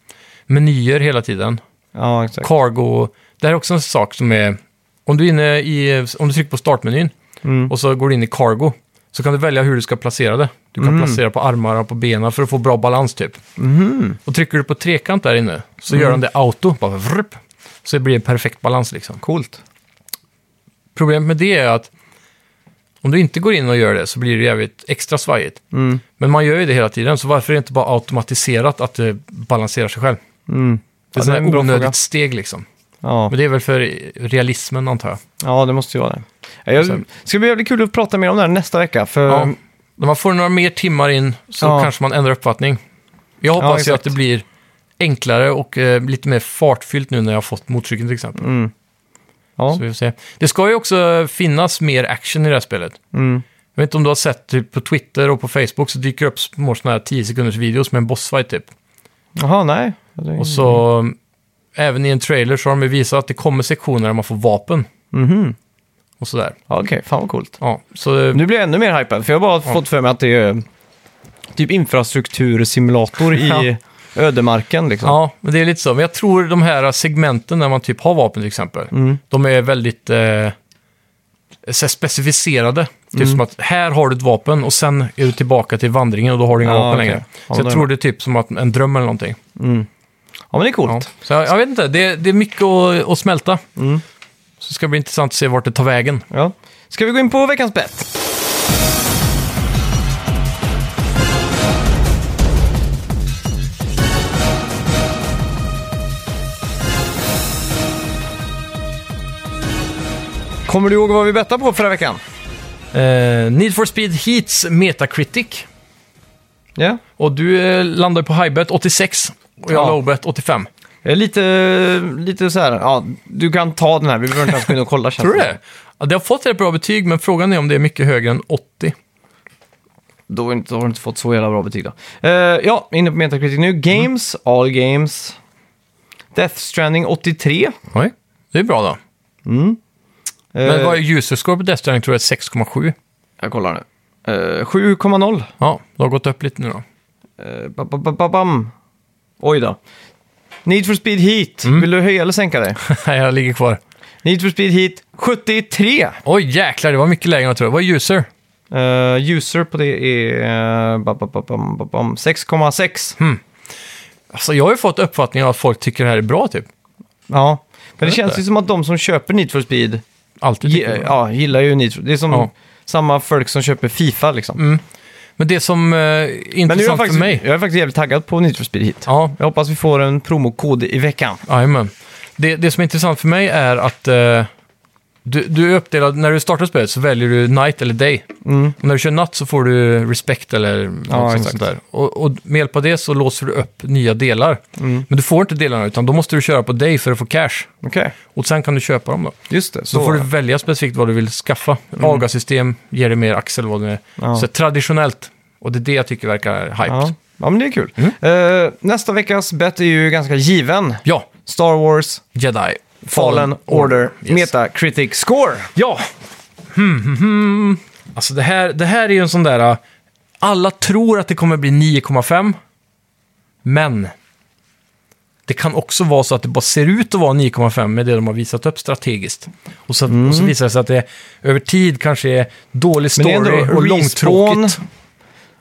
Speaker 2: Menyer hela tiden.
Speaker 1: Ja, exakt.
Speaker 2: Cargo. Det här är också en sak som är... Om du, är inne i, om du trycker på startmenyn
Speaker 1: Mm.
Speaker 2: och så går du in i cargo så kan du välja hur du ska placera det. Du
Speaker 1: Mm.
Speaker 2: kan placera på armarna och på benen för att få bra balans typ.
Speaker 1: Mm-hmm.
Speaker 2: Och trycker du på trekant där inne så
Speaker 1: Mm.
Speaker 2: gör den det auto. Bara vrrup, så det blir en perfekt balans liksom.
Speaker 1: Coolt.
Speaker 2: Problemet med det är att om du inte går in och gör det så blir det jävligt extra svajigt.
Speaker 1: Mm.
Speaker 2: Men man gör ju det hela tiden, så varför är det inte bara automatiserat att det balanserar sig själv?
Speaker 1: Mm.
Speaker 2: Det är
Speaker 1: Ja, det
Speaker 2: ja,
Speaker 1: är en
Speaker 2: ett
Speaker 1: bra
Speaker 2: onödigt
Speaker 1: fråga.
Speaker 2: steg liksom.
Speaker 1: Ja,
Speaker 2: Men det är väl för realismen antar jag.
Speaker 1: ja det måste ju vara det. Ja, Jag, det ska bli jävligt kul att prata mer om det här nästa vecka. För,
Speaker 2: Ja. När man får några mer timmar in så
Speaker 1: Ehm. Ja.
Speaker 2: kanske man ändrar uppfattning. Jag hoppas ju
Speaker 1: exakt.
Speaker 2: att det blir enklare och eh, lite mer fartfyllt nu när jag har fått motorcykeln till exempel.
Speaker 1: mm. ja.
Speaker 2: Så vi får se. Det ska ju också finnas mer action i det här spelet.
Speaker 1: Mm.
Speaker 2: Jag vet inte om du har sett typ, på Twitter och på Facebook så dyker det upp små sådana här 10 sekunders videos med en bossfight typ.
Speaker 1: Jaha, nej. Det är-
Speaker 2: Och så även i en trailer så har de ju visat att det kommer sektioner där man får vapen
Speaker 1: Mhm.
Speaker 2: och sådär.
Speaker 1: Ja, Okej, fan vad coolt.
Speaker 2: Ja, så eh,
Speaker 1: Nu blir jag ännu mer hypad, för jag har bara fått för mig att det är eh, typ infrastruktursimulator i
Speaker 2: Ja.
Speaker 1: ödemarken. Liksom.
Speaker 2: Ja, men det är lite så. Men jag tror de här segmenten när man typ har vapen till exempel,
Speaker 1: Mm.
Speaker 2: de är väldigt eh, så här specificerade. Typ
Speaker 1: Mm.
Speaker 2: som att här har du ett vapen och sen är du tillbaka till vandringen och då har du inga
Speaker 1: Ja,
Speaker 2: vapen
Speaker 1: okej.
Speaker 2: längre.
Speaker 1: Ja,
Speaker 2: så
Speaker 1: då
Speaker 2: jag
Speaker 1: är
Speaker 2: tror det är typ som att en dröm eller någonting.
Speaker 1: Ja, men det är
Speaker 2: Ja.
Speaker 1: coolt. Mm.
Speaker 2: Så jag, jag vet inte, det, det är mycket att, att smälta. Så det ska bli intressant att se vart det tar vägen.
Speaker 1: Ja. Ska vi gå in på veckans bett? Kommer du ihåg vad vi bettade på förra veckan?
Speaker 2: Eh, Need for Speed Heats Metacritic.
Speaker 1: Ja.
Speaker 2: Och du eh, landar på highbet 86 och jag
Speaker 1: Ja.
Speaker 2: lowbet 85.
Speaker 1: Jag är Lite, lite så här, ja, du kan ta den här, vi behöver inte ens gå in och kolla. känns
Speaker 2: Tror du det? Alltså, Ja, det har fått rätt bra betyg, men frågan är om det är mycket högre än 80.
Speaker 1: Då har du inte, då har du inte fått så jävla bra betyg då. Eh, ja, inne på Metacritic nu. Games,
Speaker 2: Mm.
Speaker 1: all games. Death Stranding Eh, 83.
Speaker 2: Oj. Det är bra då. Men
Speaker 1: Eh,
Speaker 2: vad är user score på Death Stranding tror jag är 6,7.
Speaker 1: Jag kollar nu. Eh, 7,0.
Speaker 2: Ja, det har gått upp lite nu då.
Speaker 1: Eh, ba- ba- ba- ba- bam. Oj då. Need for Speed Heat.
Speaker 2: Mm.
Speaker 1: Vill du höja eller sänka det?
Speaker 2: Nej, jag ligger kvar.
Speaker 1: Need for Speed Heat 73.
Speaker 2: Oj, jäklar, det var mycket lägre än jag trodde. Vad är user?
Speaker 1: Eh, user på det är eh, ba- ba- ba- bam- ba- bam.
Speaker 2: Mm.
Speaker 1: 6,6.
Speaker 2: Alltså, jag har ju fått uppfattningen att folk tycker det här är bra, typ.
Speaker 1: Ja. Men det
Speaker 2: vet
Speaker 1: känns
Speaker 2: inte.
Speaker 1: ju som att de som köper Need for Speed
Speaker 2: Alltid
Speaker 1: ge,
Speaker 2: tycker det.
Speaker 1: ja, gillar ju Need for Det är som
Speaker 2: Ja.
Speaker 1: samma folk som köper Fifa liksom.
Speaker 2: Men det som eh, är
Speaker 1: Men nu är jag,
Speaker 2: intressant
Speaker 1: faktiskt,
Speaker 2: för mig...
Speaker 1: jag är faktiskt jävligt taggad på Need for Speed hit.
Speaker 2: Ja,
Speaker 1: Jag hoppas vi får en promokod i veckan.
Speaker 2: Jajamän. Det, det som är intressant för mig är att eh, du, du är uppdelad, när du startar spelet så väljer du night eller day.
Speaker 1: Mm,
Speaker 2: Och när du kör natt så får du respect eller något sånt
Speaker 1: exakt.
Speaker 2: där. Och, och med hjälp av det så låser du upp nya delar.
Speaker 1: Mm.
Speaker 2: Men du får inte delarna utan då måste du köra på day för att få cash.
Speaker 1: Okej,
Speaker 2: Och sen kan du köpa dem då.
Speaker 1: just det.
Speaker 2: Så får du välja specifikt vad du vill skaffa. Avgassystem ger dig mer axel, vad det är.
Speaker 1: Mm. Ja.
Speaker 2: Så traditionellt. Och det är det jag tycker verkar hype.
Speaker 1: ja.
Speaker 2: Ja.
Speaker 1: ja, men det är kul.
Speaker 2: Mm.
Speaker 1: Eh, nästa veckas bet är ju ganska given. Star Wars,
Speaker 2: Jedi. Fallen,
Speaker 1: Fallen Order,
Speaker 2: Yes.
Speaker 1: Metacritic Score.
Speaker 2: Ja! Hmm, hmm, hmm. Alltså det här, det här är ju en sån där... uh, Alla tror att det kommer bli 9,5. Men... Det kan också vara så att det bara ser ut att vara 9,5 med det de har visat upp strategiskt. Och så, och så visar det sig att det över tid kanske är dålig
Speaker 1: Mm. Men det är
Speaker 2: story
Speaker 1: ändå
Speaker 2: och
Speaker 1: respawn.
Speaker 2: långtråkigt.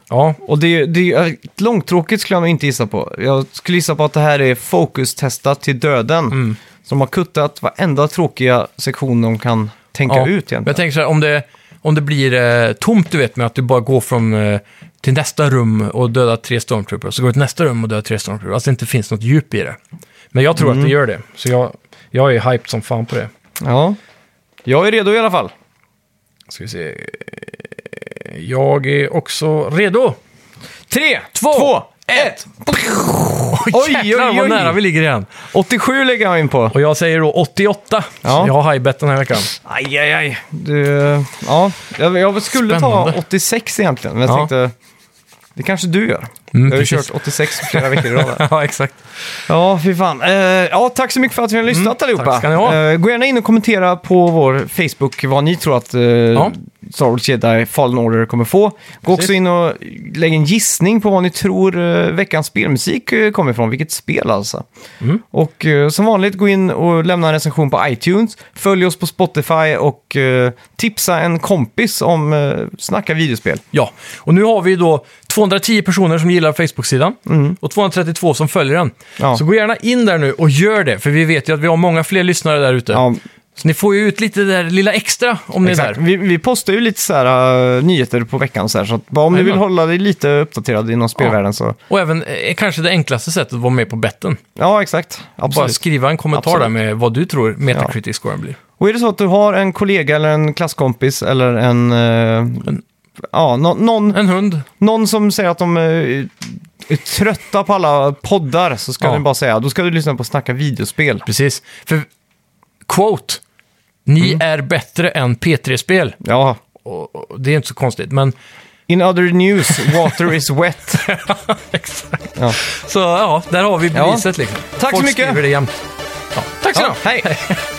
Speaker 2: Ja,
Speaker 1: Och det är, det är långtråkigt skulle jag nog inte gissa på. Jag skulle gissa på att det här är fokustestat till döden.
Speaker 2: Mm.
Speaker 1: Så de har kuttat varenda tråkiga sektion de kan tänka
Speaker 2: ja.
Speaker 1: ut egentligen.
Speaker 2: Men jag tänker så här, om det, om det blir eh, tomt du vet med att du bara går från eh, till nästa rum och dödar tre stormtroopers, så går du till nästa rum och dödar tre stormtroopers. Alltså det inte finns något djup i det. Men jag tror
Speaker 1: Mm.
Speaker 2: att det gör det, så jag, jag är hyped som fan på det.
Speaker 1: Ja. Jag är redo i alla fall.
Speaker 2: Ska vi se. Jag är också redo!
Speaker 1: Tre,
Speaker 2: Två,
Speaker 1: två
Speaker 2: ett! Oj,
Speaker 1: Oj,
Speaker 2: jäklar
Speaker 1: oj,
Speaker 2: vad
Speaker 1: oj.
Speaker 2: nära vi ligger igen.
Speaker 1: 87 lägger jag in på.
Speaker 2: Och jag säger då 88,
Speaker 1: Ja.
Speaker 2: så jag har hajbett den här veckan.
Speaker 1: Aj, aj, aj. Du, ja, jag, jag skulle ta
Speaker 2: Spännande.
Speaker 1: 86 egentligen, men jag
Speaker 2: Ja.
Speaker 1: tänkte... Det kanske du gör.
Speaker 2: Mm,
Speaker 1: jag har ju
Speaker 2: precis.
Speaker 1: kört 86 flera veckor i rad. här.
Speaker 2: ja, exakt.
Speaker 1: Ja, fy fan. Eh, ja, tack så mycket för att ni har lyssnat allihopa.
Speaker 2: Mm, tack ska ni ha.
Speaker 1: Eh, gå gärna in och kommentera på vår Facebook vad ni tror att eh, Star Wars Jedi Fallen Order kommer få. Gå också in och lägg en gissning på vad ni tror eh, veckans spelmusik eh, kommer ifrån, vilket spel alltså.
Speaker 2: Mm.
Speaker 1: Och eh, som vanligt, gå in och lämna en recension på iTunes, följ oss på Spotify och eh, tipsa en kompis om eh, Snacka videospel.
Speaker 2: Ja, och nu har vi ju då 210 personer som gillar Facebook-sidan och 232 som följer den.
Speaker 1: Ja.
Speaker 2: Så gå gärna in där nu och gör det, för vi vet ju att vi har många fler lyssnare där ute.
Speaker 1: Ja,
Speaker 2: Så ni får ju ut lite det där lilla extra om ni är
Speaker 1: Exakt.
Speaker 2: där.
Speaker 1: Vi, vi postar ju lite så här, äh, nyheter på veckan, så, här, så att bara om du vill
Speaker 2: Jajamän.
Speaker 1: hålla dig lite uppdaterad inom spelvärlden så...
Speaker 2: Och även eh, kanske det enklaste sättet att vara med på betten.
Speaker 1: Ja, exakt.
Speaker 2: Bara
Speaker 1: Absolut.
Speaker 2: skriva en kommentar
Speaker 1: Absolut.
Speaker 2: där med vad du tror Metacritic-scoren blir.
Speaker 1: Och är det så att du har en kollega eller en klasskompis eller en... eh, Ja, nå- någon,
Speaker 2: En hund.
Speaker 1: någon som säger att de eh, är trötta på alla poddar så ska
Speaker 2: Ja.
Speaker 1: du bara säga, då ska du lyssna på Snacka videospel.
Speaker 2: Precis. För, quote, ni
Speaker 1: Mm.
Speaker 2: är bättre än P3-spel.
Speaker 1: Ja.
Speaker 2: Och, och, det är inte så konstigt, men
Speaker 1: In other news, water is wet.
Speaker 2: exakt.
Speaker 1: Ja.
Speaker 2: Så ja, där har vi beviset liksom.
Speaker 1: Tack så
Speaker 2: Folk
Speaker 1: mycket.
Speaker 2: skriver det jämt. Ja, tack så
Speaker 1: Ja,
Speaker 2: mycket.
Speaker 1: hej!